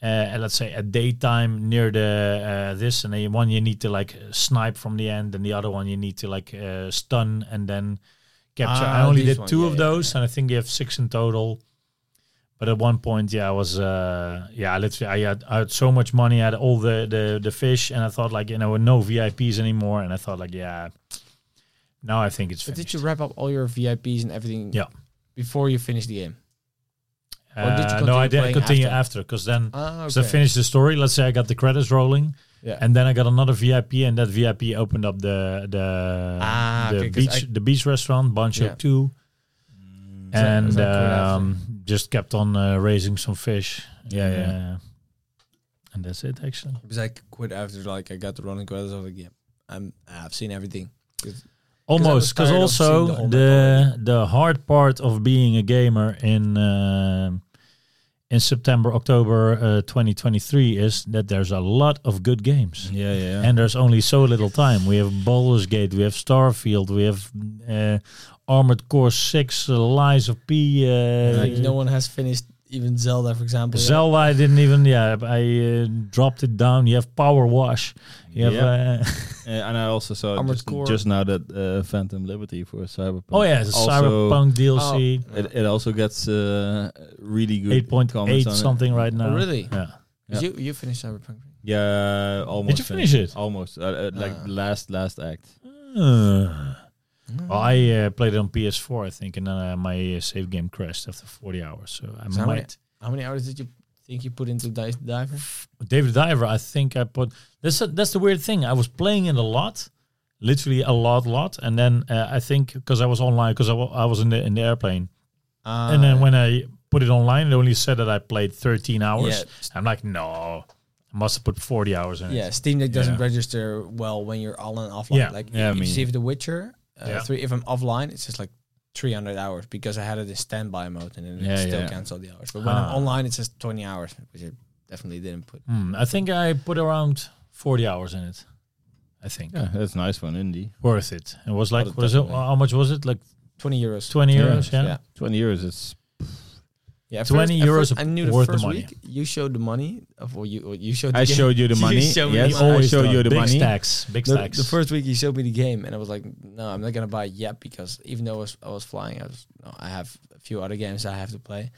uh, and let's say at daytime near the uh, this, and then one you need to like snipe from the end, and the other one you need to like uh, stun and then capture.
Ah,
I only
these
did
one.
two
Yeah,
of
yeah,
those, and I think you have six in total. But at one point, yeah, I was, uh, yeah, I literally, I had, I had so much money, I had all the, the the fish, and I thought like, you know, no VIPs anymore, and I thought like, yeah, now I think it's
But
finished.
did you wrap up all your VIPs and everything?
Yeah.
Before you finish the game. or did you
Uh, no, I
continue
did
playing
continue
after?
after because then
Ah, okay.
so I finished the story. Let's say I got the credits rolling,
Yeah.
and then I got another VIP, and that VIP opened up the the
Ah,
the
okay, 'cause
beach
I-
the beach restaurant Bancho
Yeah.
Two,
that-
and
is that correct?
um, just kept on uh, raising some fish, Yeah,
Yeah.
yeah. yeah. And that's it, actually.
Because I quit after like I got the running credits. I was like, yeah, I'm I've seen everything.
Almost, because
tired of seeing
also
the whole map
the the hard part of being a gamer in um in September, October, uh, 2023 is that there's a lot of good games.
Yeah, yeah.
and there's only so little time. We have Baldur's Gate, we have Starfield, we have uh, Armored Core Six, uh, Lies of P. Uh,
Like no one has finished even Zelda, for example. yet.
Zelda, I didn't even. Yeah, I uh, dropped it down. You have Power Wash. You have.
Yeah.
Uh,
Uh, and I also saw
Armored
just,
Core.
just now that uh, Phantom Liberty for Cyberpunk.
oh yeah, the Cyberpunk
oh,
Oh.
DLC.
It, it also gets uh, really good
Eight point
comments
eight
on it.
something right now.
Oh, really?
Yeah.
Yeah.
You you finished Cyberpunk? right?
Yeah, almost.
Did you finish it?
Almost. Uh, uh, like
Ah.
the last last act. Hmm.
Uh,
Mm.
well, I uh, played it on PS4, I think, and uh, my uh, save game crashed after 40 hours. So I
So how many-
might.
How many hours did you think you put into Dice Diver?
David Diver, I think I put that's that's the weird thing. I was playing it a lot, literally a lot, lot, and then uh, I think because I was online because I wa- I was in the in the airplane,
Uh,
and then when I put it online, it only said that I played 13 hours.
Yeah.
I'm like, no, I must have put 40 hours in
yeah,
it.
Steam Deck doesn't
Yeah.
register well when you're online and offline.
Yeah.
Like
Yeah, I
if you
mean-
see if The Witcher uh,
Yeah.
three, if I'm offline, it's just like 300 hours because I had it in standby mode and then
Yeah,
it still
yeah.
canceled the hours. But when
Ah.
I'm online, it says 20 hours, which I definitely didn't put.
Hmm, I think I put around 40 hours in it. I think
Yeah, that's a nice one, indie.
worth it. It was like
Oh,
what is it?
definitely.
How much was it? Like
20 euros.
20 euros? Yeah.
yeah.
Twenty euros. It's
Yeah, at
20
at
euros
I knew the
worth the
first
money.
week you showed the money of what you what you showed. The
I
game.
showed you the
You
money.
showed me
yes,
the
I
Always
showed
done.
you the
big
money.
stacks, big
The,
stacks.
the first week you showed me the game, and I was like, "No, I'm not gonna buy it yet because even though I was, I was flying, I was no, I have a few other games I have to play."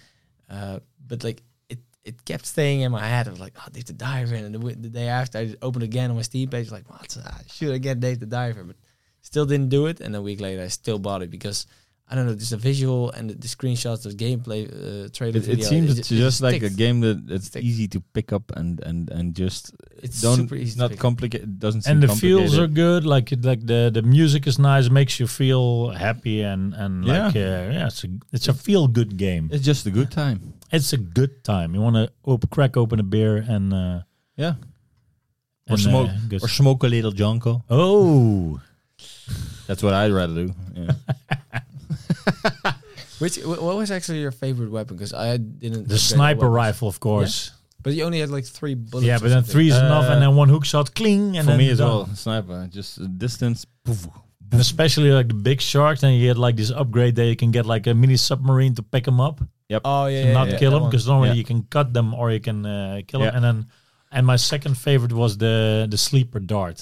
Uh, but like it, it kept staying in my head. I was like, "Oh, Dave the Diver," and the, wi- the day after, I just opened again on my Steam page. Like, "What? Ah, Should I get Dave the Diver?" But still didn't do it. And a week later, I still bought it because I don't know, just the visual and the, the screenshots of gameplay uh, trailer.
It, it
video,
seems
ju-
it's just like a
sticks.
game that it's
Sticks.
easy to pick up and and and just
It's
don't
super easy. to
not
pick up.
complicated. Doesn't seem
and the feels are
complicated.
good like it- like the the music is nice makes you feel happy and and
Yeah.
like uh, yeah it's a it's a feel good game
It's just a good time.
it's a good time you want to op- crack open a beer and uh
Yeah. Or
and,
smoke-
uh, go-
Or smoke a little Jonko.
oh
That's what I'd rather do. Yeah.
Which wh- what was actually your favorite weapon? Because I didn't.
the sniper rifle of course
But you only had like three bullets.
yeah
or
but then
something.
three is
Uh,
enough and then one hook shot cling and
For
then
me as
done.
well, sniper. Just distance.
And especially like the big sharks and you get like this upgrade that you can get like a mini submarine to pick them up
Oh yeah, yeah,
not
yeah,
kill
that
them
one.
because normally
Yeah.
you can cut them or you can uh, kill
Yeah.
them. And then, and my second favorite was the the sleeper dart.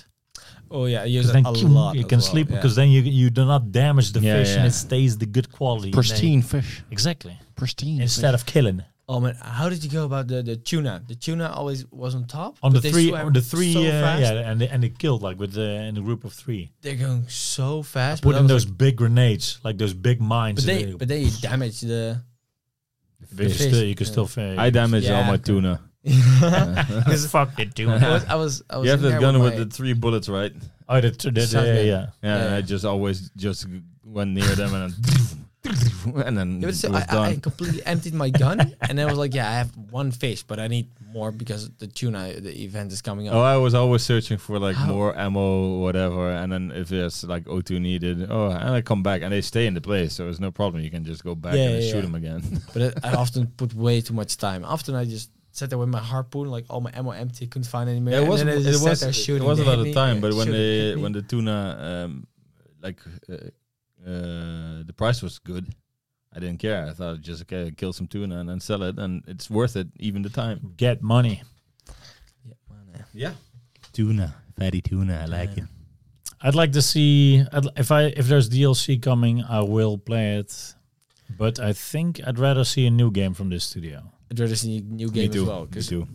Oh yeah, I use
'Cause
it
then
a
kyung,
lot.
you
as
can
well,
sleep
yeah.
because then you you do not damage the
Yeah,
fish and
yeah.
it stays the good quality. and they-
Pristine fish.
Exactly.
Pristine.
Instead of killing
Oh man, how did you go about the, the tuna? The tuna always was on top.
on the
but they
three,
swam
on the three,
so
uh,
fast.
yeah, and they, and they killed like with the in a group of three.
they're going so fast.
Put
but I
in
was
those
like-
big grenades, like those big mines.
but
and
they, but they damage the.
you can
fish.
still, you can
Yeah.
still fa-
I damage all
Yeah.
my tuna.
Because
Fuck it, dude.
I was, I was, I was
You have
in
that
there
gun with
my-
the three bullets, right?
oh, the, the, the,
Sunday.
yeah.
Yeah, and
Yeah.
I just always just g- went near them and then and then
Yeah,
it
but
was
still, I, I- I
done.
completely emptied my gun, and I was like, "Yeah, I have one fish, but I need more because the tuna the event is coming up."
Oh, I was always searching for like
How-
more ammo, whatever, and then if there's like O2 needed, oh, and I come back and they stay in the place, so it's no problem. You can just go back
Yeah,
and then
yeah,
shoot
yeah.
them again.
But I, I often put way too much time. Often I just sat there with my harpoon, like all my ammo empty, couldn't find any more.
Yeah, it
and
was
then I
it
just sat
was
there
it
shooting.
was a
They
lot
hit
of
me,
time,
uh,
but when
shooting,
the
hit me.
when the tuna um, like uh, uh, the price was good, I didn't care. I thought just okay, kill some tuna and then sell it, and it's worth it, even the time.
Get money.
Yeah, man, yeah.
Yeah, tuna, fatty tuna, I
like it.
I'd like to see I'd, li- if I if there's DLC coming, I will play it. But I think I'd rather see a new game from this studio.
I'd rather see a new
Me
game
too.
as well.
Me
'cause
too.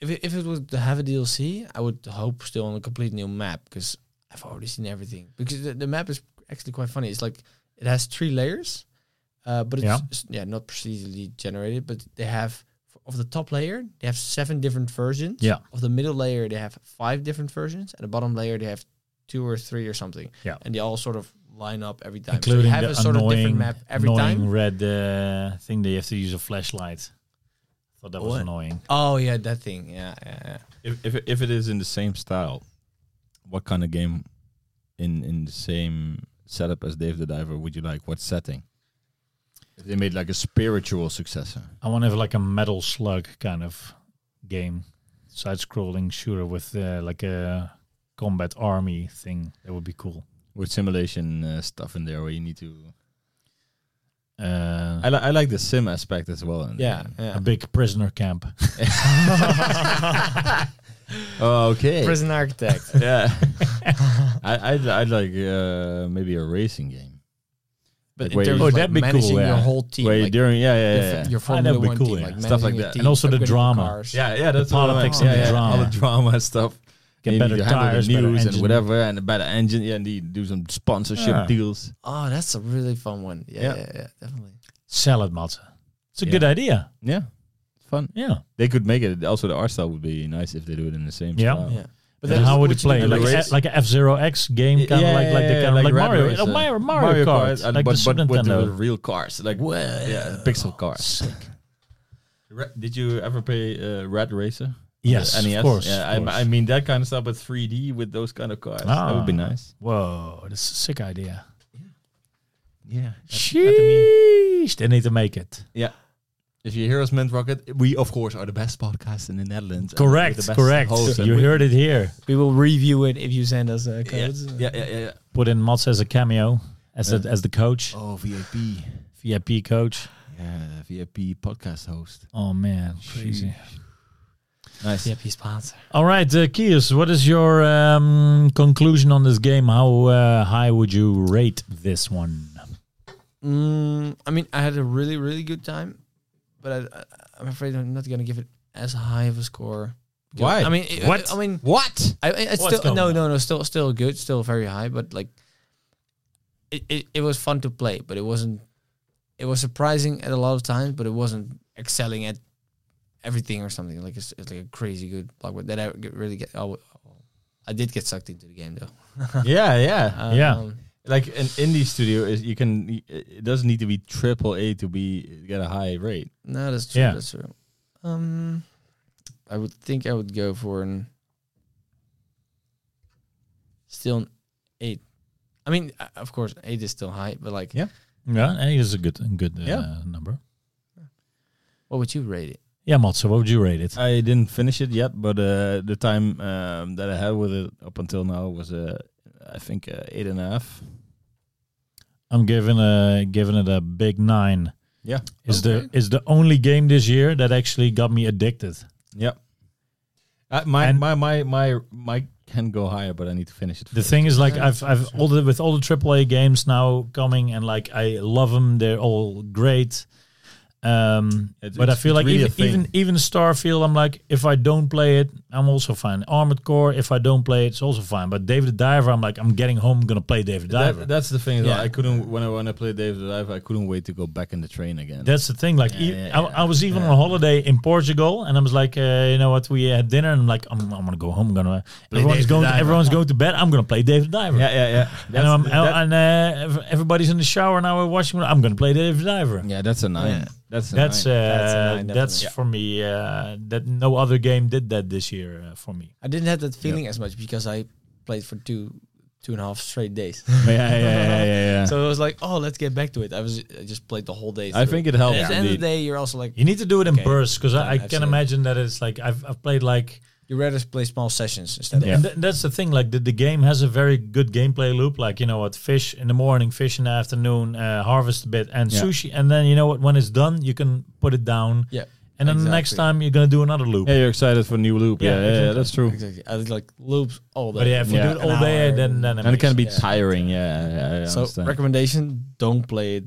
If it, if it was to have a DLC, I would hope still on a complete new map because I've already seen everything. Because the, the map is actually quite funny. It's like it has three layers, uh, but it's
Yeah.
yeah. yeah not procedurally generated. But they have of the top layer they have seven different versions.
Yeah.
Of the middle layer they have five different versions, and the bottom layer they have two or three or something.
Yeah.
And they all sort of line up every time. so you
Including
have
the
a sort of
annoying,
different map every
annoying
time.
red uh, thing that you have to use a flashlight. Thought that was
What?
annoying.
Oh yeah, that thing. Yeah, yeah, yeah.
If, if if it is in the same style, what kind of game in in the same setup as Dave the Diver would you like? What setting? If they made like a spiritual successor.
I want to have like a metal slug kind of game, side-scrolling shooter with uh, like a combat army thing. That would be cool.
with simulation uh, stuff in there where you need to.
Uh,
I, li- I like the sim aspect as well. in-
yeah,
a big prisoner camp.
Oh, okay.
Prison Architect.
yeah. I I'd, I'd like uh, maybe a racing game.
But
Like where
in terms
you-
Oh,
of like
that'd be cool,
managing your
yeah.
whole team,
where you
like
during yeah yeah
your,
yeah.
f-
yeah.
your
that'd
Formula
be
One
cool,
team,
yeah.
like
Stuff like
managing your
that.
team,
And also the
upgrading your
drama.
cars.
yeah, yeah, that's what I meant.
Politics and
yeah, yeah,
drama.
all the drama stuff. And you
Get
need
better
to handle
tires,
the
better
news and
engine.
whatever, and a better engine. Yeah, and you do some sponsorship
Yeah.
deals.
Oh, that's a really fun one. Yeah,
Yeah.
yeah, yeah, definitely.
Salad matzah. It's a
Yeah.
good idea.
Yeah, fun.
Yeah.
They could make it. Also, the art style would be nice if they do it in the same
Yeah.
style.
Yeah.
Oh. But
then
how
would
would it
you do
play?
the
Like
race?
a, like an F Zero X game,
Yeah,
kind of
yeah,
like like
yeah,
the
yeah,
kind of like,
Red
Mario,
Racer.
uh, Mario, Mario Kart,
uh,
like
but,
the Super
but with the
Nintendo.
real cars, like well, yeah, pixel cars. Re- Did you ever play uh, Red Racer?
Yes,
The NES?
of course.
Yeah,
of
I-
course.
I, mean that kind of stuff with 3D with those kind of cars. That would be
Ah.
nice.
Whoa, that's a sick idea.
Yeah.
Sheesh, they need to make it.
If you hear us, Mint Rocket, we of course are the best podcast in the Netherlands. and we're
Correct,
the best
correct.
hosts, and
You
we-
heard it here.
We will review it if you send us uh,
Yeah,
codes.
yeah, yeah, yeah. yeah.
Put in Mats as a cameo, as
Yeah.
the, as the coach,
Oh, VIP.
VIP coach.
Yeah, VIP podcast host.
Oh man, crazy.
Nice.
CFP sponsor.
All right, uh, Kius, what is your um, conclusion on this game? How uh, high would you rate this one?
Mm, I mean, I had a really, really good time, but I, I, I'm afraid I'm not gonna give it as high of a score.
Why?
I mean, it-
What?
I mean,
what?
I, I it's
What's
still no,
going
no, no, still, still good, still very high, but like, it, it, it was fun to play, but it wasn't. It was surprising at a lot of times, but it wasn't excelling at everything or something. Like it's, it's like a crazy good block, that I get- really get. Oh, I did get sucked into the game though. Um,
yeah, yeah.
Yeah.
like an indie studio is you can it doesn't need to be triple A to be get a high rate.
No, that's true.
Yeah.
That's true. Um, I would think I would go for an still an eight. I mean, uh, of course, eight is still high, but like,
Yeah.
Yeah, eight is a good, good uh,
Yeah.
number.
what would you rate it?
Yeah, Mats, what would you rate it?
I didn't finish it yet, but uh, the time um, that I had with it up until now was uh, I think uh, eight and a half.
I'm giving a giving it a big nine.
Yeah.
Is the is the only game this year that actually got me addicted.
Yep. Uh, my,
And-
my my my my can go higher, but I need to finish it.
The thing is, like,
Yeah,
I've I've all the with all the AAA games now coming, and like I love them. They're all great. Um,
It-
but I
it's-
feel
it's
like
really a
even,
thing.
even even Starfield, I'm like, if I don't play it, I'm also fine. Armored Core, if I don't play it, it's also fine. But David the Diver, I'm like, I'm getting home, gonna play David the
That-
Diver.
that's the thing. Yeah.
Yeah.
I couldn't when I when I played Dave the Dive, I couldn't wait to go back in the train again.
That's the thing. Like,
Yeah,
e-
yeah,
I, I was even on holiday in Portugal, and I was like, uh, you know what? We had dinner, and I'm like, I'm, I'm gonna go home. I'm gonna everyone's
David
going.
Diver.
everyone's going to bed. I'm gonna play David Diver.
yeah, yeah, yeah. That's,
and I'm,
that-
and uh, ev- everybody's in the shower now. We're watching. I'm gonna play David Diver.
yeah, that's a nine. That's a
That's uh,
nine.
that's,
That's a nine, definitely.
for me. Uh, that no other game did that this year uh, for me.
I didn't have that feeling as much because I played for two, two and a half straight days.
yeah, yeah, yeah, yeah, yeah.
so it was like, oh, let's get back to it. I was, I just played the whole day.
I
through.
think it helps.
at the end of the
indeed.
day, you're also like,
You need to do it in
Okay.
bursts because
Yeah,
I, I can
absolutely.
imagine that it's like I've, I've played like
you rather play small sessions instead
and th- that's the thing like the, the game has a very good gameplay loop like you know what fish in the morning fish in the afternoon uh, harvest a bit and
Yeah.
sushi and then you know what when it's done you can put it down
of yeah.
and then the next
exactly.
time you're gonna do another loop
Yeah, you're excited for new loop. Yeah,
Yeah,
yeah, yeah,
exactly.
that's true.
Exactly. I did like loops all day.
but yeah if you
Yeah.
do it all
An
day
hour.
then then
And it can be
Yeah.
tiring. Yeah, yeah, yeah I
So
understand.
recommendation: don't play it.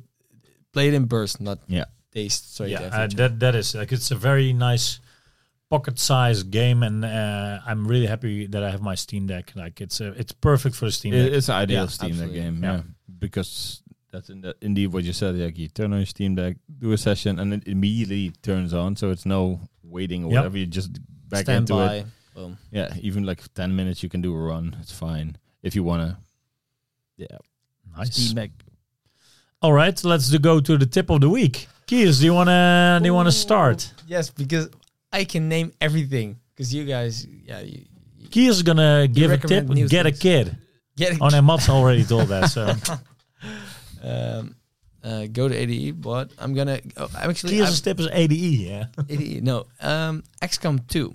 Play it in bursts, not
Yeah.
days straight.
yeah,
after
uh,
each other.
that that is like it's a very nice pocket-sized game, and uh, I'm really happy that I have my Steam Deck. Like it's a, it's perfect for the Steam
It-
Deck.
it's an ideal
Yeah,
Steam Deck
absolutely.
game. Yeah.
Yeah.
because that's in the, indeed what you said. Like you turn on your Steam Deck, do a session, and it immediately turns on. So it's no waiting or
Yep.
whatever. You just back
Stand
into
by.
it.
Boom.
Yeah, even like ten minutes, you can do a run. It's fine if you wanna. Yeah,
nice.
Deck.
All right, let's do, go to the tip of the week. Kiers, do you wanna do you wanna start?
Yes, because I can name everything. Because you guys, yeah, you, you
Key is gonna give a tip.
recommend new
Get a
things.
kid.
get it.
Oh, no, Mats already told that. So
um, uh, go to ADE, but I'm gonna. Oh, I'm actually,
Key is tip is ADE. Yeah.
I'm- ADE. No, um, XCOM two.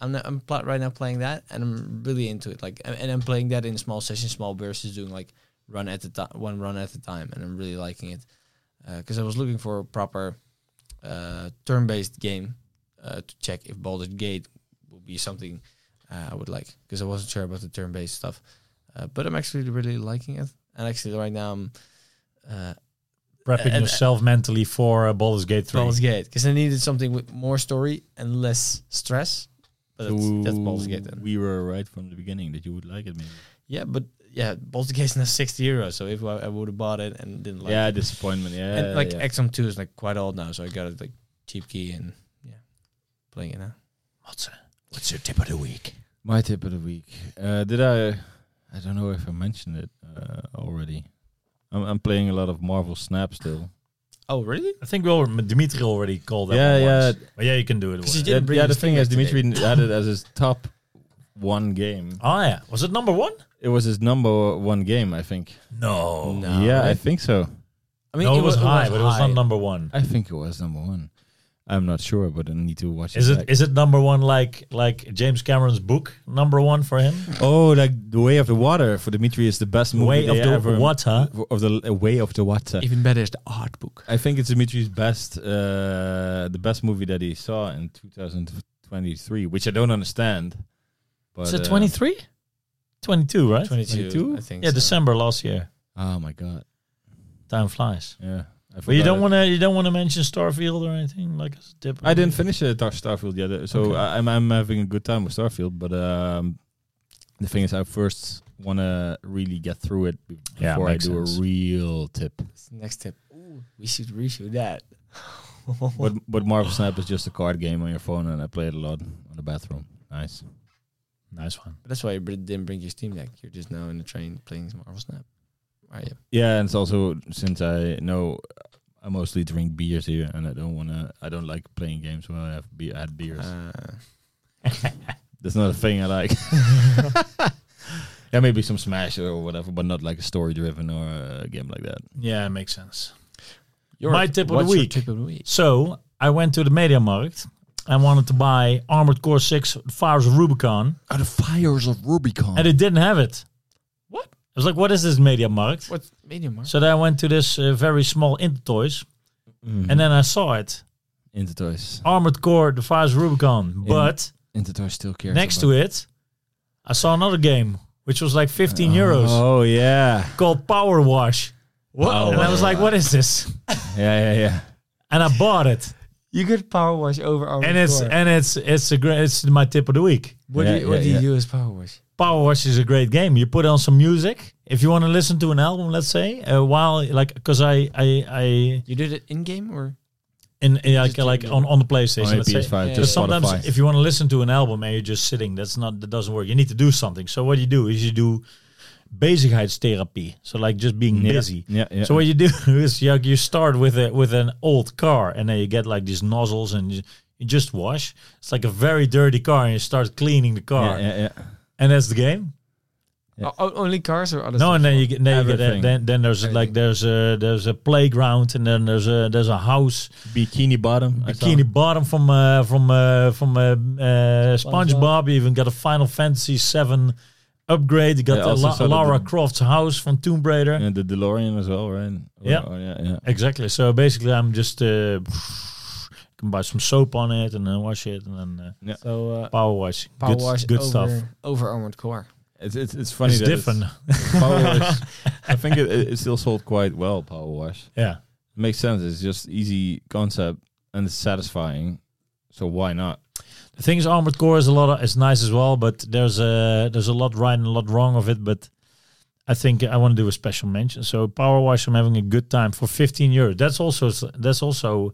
I'm not, I'm pl- right now playing that, and I'm really into it. Like, and- and I'm playing that in small sessions, small bursts, doing like run at the time, one run at a time, and I'm really liking it. Because I was looking for a proper uh, turn-based game uh, to check if Baldur's Gate would be something uh, I would like, because I wasn't sure about the turn-based stuff. Uh, but I'm actually really liking it, and actually right now I'm uh,
Prepping
And-
yourself mentally for uh, Baldur's Gate 3.
Baldur's Gate because I needed something with more story and less stress. But that's, that's Baldur's Gate then.
We were right from the beginning that you would like it, maybe.
Yeah, but yeah, Baldur's Gate is now sixty euros. So if I, I would have bought it and didn't like,
yeah,
it.
disappointment. Yeah,
and like
yeah.
XM two is like quite old now, so I got it like cheap key and yeah, playing it now.
What's, what's your tip of the week?
my tip of the week. Uh, did I? I don't know if I mentioned it uh, already. I'm, I'm playing a lot of Marvel Snap still.
Oh really?
I think we all, Dimitri already called that
Yeah,
one
yeah.
once. But yeah, you can do it.
Because
once.
you didn't
Yeah,
bring
yeah, the
his
thing
finger
is,
today.
Dimitri had it as his top one game.
Oh, yeah. Was it number one?
It was his number one game, I think.
No.
No.
yeah, I think so.
I
No, it, was,
wa-
high, but it was
high.
not number one.
I think it was number one. I'm not sure, but I need to watch
Is
it.
it is it number one like like James Cameron's book number one for him?
oh, like the Way of the Water for Dimitri is the best movie
Way of
they
the
ever-
Water?
of the uh, Way of the Water.
Even better is the art book.
I think it's Dimitri's best, uh, the best movie that he saw in 2023, which I don't understand. But,
Is it
uh,
23? 22, right?
Twenty two,
22?
I think.
Yeah,
so.
December last year.
oh my god!
Time flies.
Yeah, I
But you
forgot
don't
it.
want to you don't want to mention Starfield or anything like as a tip. of
uh, I
the
didn't
week?
finish uh, Star- Starfield yet, uh, so
Okay.
I, I'm I'm having a good time with Starfield. But um, the thing is, I first want to really get through it be-
Yeah,
before I
makes
do
sense.
a real tip.
That's the next tip. Ooh, we should reshoot that.
But but Marvel Snap is just a card game on your phone, and I play it a lot on the bathroom. Nice.
Nice one.
That's why you br- didn't bring your Steam Deck. You're just now in the train playing some Marvel Snap. Are you?
Yeah, and it's also since I know I mostly drink beers here, and I don't want to. I don't like playing games when I have be- I had beers.
Uh,
That's not a thing I like. yeah, maybe some Smash or whatever, but not like a story-driven or a game like that.
Yeah, it makes sense.
your-
My tip of the
what's your
week.
Tip of the week.
So I went to the Mediamarkt and wanted to buy Armored Core 6 Fires of Rubicon,
Oh, the fires of Rubicon.
and it didn't have it.
What?
I was like, what is this Mediamarkt?
What's medium mark?
So then I went to this uh, very small Intertoys, and then I saw it
Intertoys.
Armored Core, the Fires of Rubicon. But
Intertoys still cares.
next to it, I saw another game, which was like 15 euros,
Oh yeah,
called Power Wash.
Power
and I was like, what is this?
yeah, yeah, yeah.
And I bought it.
You could power wash over armor.
And it's and it's it's a great it's my tip of the week.
what
Yeah,
do you, what
yeah,
do you
yeah.
do as power wash?
Power Wash is a great game. You put on some music if you want to listen to an album, let's say, uh, while like because I I I
You did it in game or
in, in like
Just
like
do-
on on the PlayStation.
On a
let's say.
PS5,
Yeah.
just
Because sometimes
Spotify.
if you want to listen to an album and you're just sitting, that's not that doesn't work. You need to do something. So what you do is you do bezigheidstherapie. So like just being
yeah.
busy.
Yeah, yeah.
So what you do is you, you start with a with an old car and then you get like these nozzles and you, you just wash. It's like a very dirty car and you start cleaning the car
yeah, yeah, yeah.
and that's the game.
Yeah.
O- o- only cars or other?
No,
stuff?
and then you get, then, you get
Everything.
then, then there's like
Everything.
there's a there's a playground and then there's a there's a house
Bikini Bottom. I saw.
bikini bottom from uh, from uh, from uh, uh, SpongeBob.
SpongeBob.
You even got a Final Fantasy VII upgrade. You got
Yeah,
the
also
La-
saw the-
Lara Croft's house from Tomb Raider.
And the DeLorean as well, right? Or-
Yeah.
or yeah, yeah.
Exactly. So basically, I'm just uh, can buy some soap on it and then wash it and then uh,
so uh,
power wash.
power
good,
wash
good
over,
stuff.
over armored core.
It's it's, it's funny
It's
that
different.
It's, Power Wash. I think it, it it still sold quite well. Power Wash
yeah.
makes sense. It's just easy concept and it's satisfying. So why not?
The thing is, Armored Core is a lot. Of, is nice as well, but there's a there's a lot right and a lot wrong of it. But I think I want to do a special mention. So Power Wash, I'm having a good time for 15 euros. That's also that's also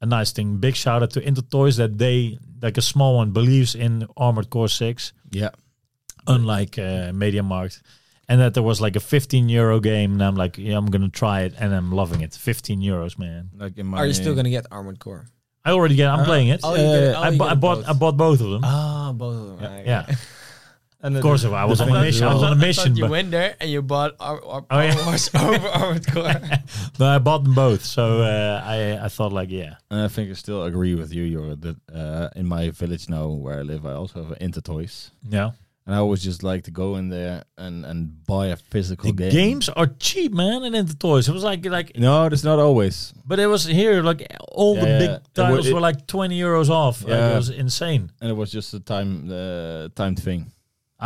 a nice thing. Big shout out to Intertoys that they like a small one believes in Armored Core Six,
Yeah,
unlike uh, MediaMarkt. And that there was like a 15 euro game, and I'm like, yeah, I'm gonna try it, and I'm loving it. 15 euros, man.
like in my.
Are you still gonna get armored core?
I already get. I'm
Ah.
playing it.
Oh, you get it.
Uh,
Oh,
I,
you
bu-
get
I
it
bought.
both.
I bought both of them.
Oh, both of them.
Yeah,
Okay.
yeah.
And
Of course, I was on a mission. I was on a mission,
You
but,
went there and you bought our, our
Oh, yeah.
Power Wars over Armored Core.
but I bought them both. So uh, I I thought like yeah.
And I think I still agree with you, Jorrit, that uh, in my village now where I live, I also have an Intertoys.
Yeah,
And I always just like to go in there and, and buy a physical
the
game.
games are cheap, man, and then the toys. It was like like,
No, that's not always.
but it was here like all
Yeah,
the
yeah. It
big
wa-
titles
it-
were like twenty euros off. Like,
Yeah.
it was insane.
And it was just a time uh, timed thing.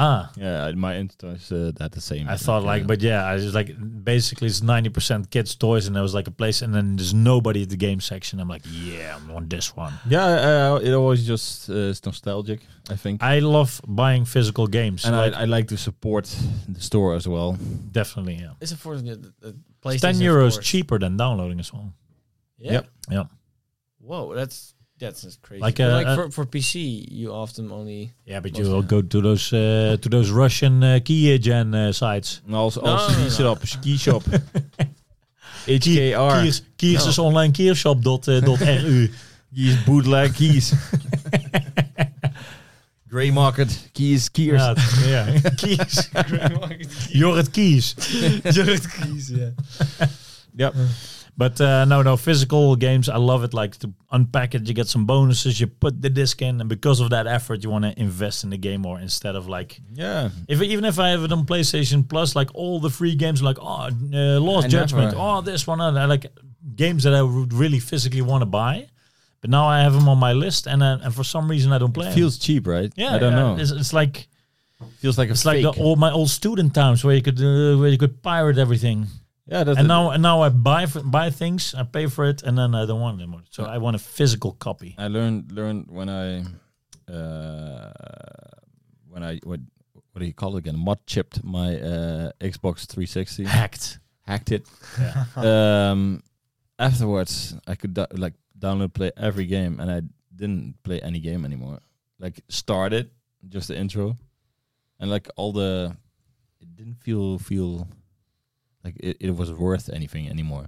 Ah,
Yeah, I- my Intertoys uh, that the same.
I thought like,
Yeah.
but yeah, I was like, basically it's ninety percent kids' toys, and there was like a place, and then there's nobody at the game section. I'm like, yeah, I want this one.
yeah, uh, it always just uh, is nostalgic. I think,
I love buying physical games.
and
like,
I, I like to support the store as well.
definitely, yeah.
It's a four. The, the
It's
PlayStation,
ten
of
euros
course.
cheaper than downloading as well.
Yeah.
Yep.
Yeah,
Whoa, that's that's just crazy.
Like,
Like,
uh, uh,
like for, for PC, you often only
yeah, but
Most-
you'll go to those uh, to those Russian uh, Kyigen uh, sites.
And also,
No,
also
no,
ski
no.
shop, ski shop,
Kie-
HKR,
Kiers, Kiers is online keershop dot, uh, dot ru.
keys bootleg keys, gray market keys, keers.
Yeah, yeah. Kiers. Jorrit Kies.
yeah.
Yep.
But uh, no, no physical games. I love it. Like to unpack it, you get some bonuses. You put the disc in, and because of that effort, you want to invest in the game more instead of like
Yeah.
if even if I have it on PlayStation Plus, like all the free games, like oh, uh, Lost
I
Judgment,
never-
oh this one, and I like games that I would really physically want to buy. But now I have them on my list, and uh, and for some reason I don't play.
It
'em.
feels cheap, right?
yeah,
I don't
yeah,
know.
It's, it's like
feels like a
it's like the old my old student times where you could uh, where you could pirate everything.
yeah, that's
And
it.
now, and now I buy for, buy things, I pay for it, and then I don't want them anymore. So I want a physical copy.
I learned learned when I uh, when I what what do you call it again? Mod chipped my uh, Xbox 360,
Hacked.
hacked it.
Yeah.
um, afterwards, I could do- like download play every game, and I didn't play any game anymore. Like start it, just the intro, and like all the, it didn't feel feel like it, it was worth anything anymore.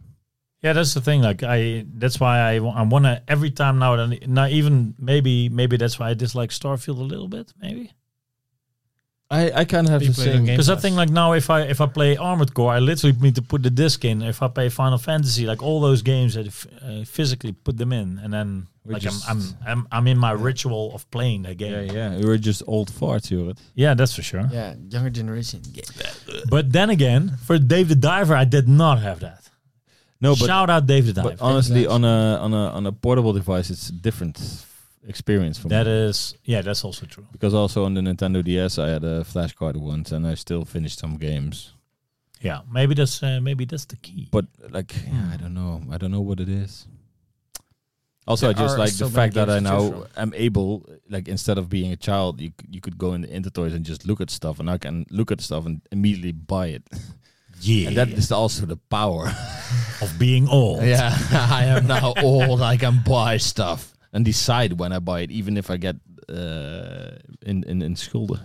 Yeah, that's the thing. Like I, that's why I, wa- I want to every time now. that- Now even maybe maybe that's why I dislike Starfield a little bit. Maybe
I I kind of have
You
the
played a
same
game?
because I
Pass.
think like now if I if I play Armored Core, I literally need to put the disc in. If I play Final Fantasy, like all those games, I f- uh, physically put them in, and then
We
like
just-
I'm, I'm I'm I'm in my ritual of playing that game.
Yeah,
Yeah,
yeah, we were just old farts, Jorrit.
that's for sure.
yeah, younger generation. Yeah.
But then again, for Dave the Diver, I did not have that.
No, but
Shout out Dave the Diver.
But honestly, on a on a on a portable device, it's a different experience for
that
me.
is yeah, that's also true.
because also on the Nintendo DS, I had a flash card once, and I still finished some games.
Yeah, maybe that's uh, maybe that's the key.
But like, yeah, I don't know, I don't know what it is. Also, I
There
just
are
like
so
the
many
fact that I
games to choose
now am able, like, instead of being a child, you c- you could go in the Intertoys and just look at stuff, and I can look at stuff and immediately buy it,
yeah,
and that is also the power.
of being old.
Yeah, I am now old. I can buy stuff and decide when I buy it, even if I get uh, in in in schulden.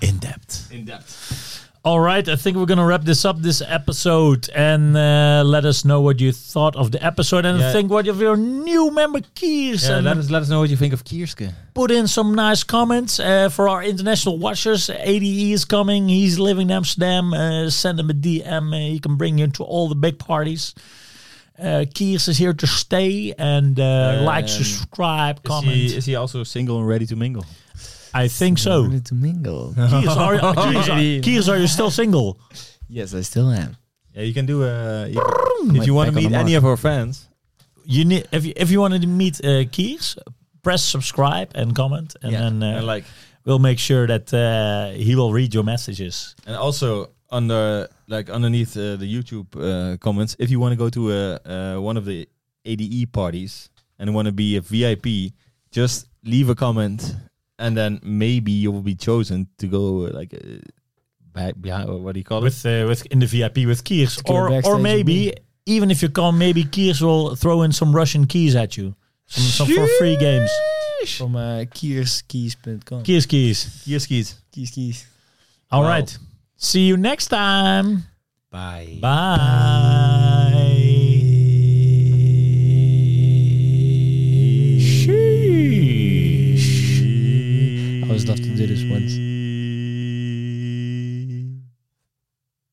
in depth.
In depth.
All right, I think we're gonna wrap this up this episode and uh, let us know what you thought of the episode and
Yeah.
think what of your new member keys
Yeah,
and
let us let us know what you think of Kierske.
put in some nice comments uh, for our international watchers. ADE is coming. He's living in Amsterdam. Uh, send him a DM. Uh, he can bring you to all the big parties. Uh, Kiers is here to stay and uh, like,
Um,
subscribe, comment.
is he also single and ready to mingle?
I think so.
Ready to mingle.
Kiers, are, Kiers, are, Kiers, are you still single?
yes, I still am.
Yeah, you can do. Uh, you can- if
Like
you want to
back on the
meet any of our fans,
You need if you, if you wanted to meet uh, Kiers, press subscribe and comment, and then uh,
and like,
we'll make sure that uh, he will read your messages.
and also under like underneath uh, the YouTube uh, comments, if you want to go to uh, uh, one of the ADE parties and want to be a VIP, just leave a comment, and then maybe you will be chosen to go uh, like uh, back behind. or What do you call it?
with uh, with in the VIP with Kiers,
Secure
or
backstage
or maybe
meeting.
even if you come, maybe Kiers will throw in some Russian keys at you, some, some for free games.
From uh, kierskis.com.
Kiers keys.
Yes, keys.
Kies, kies.
All
Wow.
right, see you next time.
Bye.
Bye.
often do this once.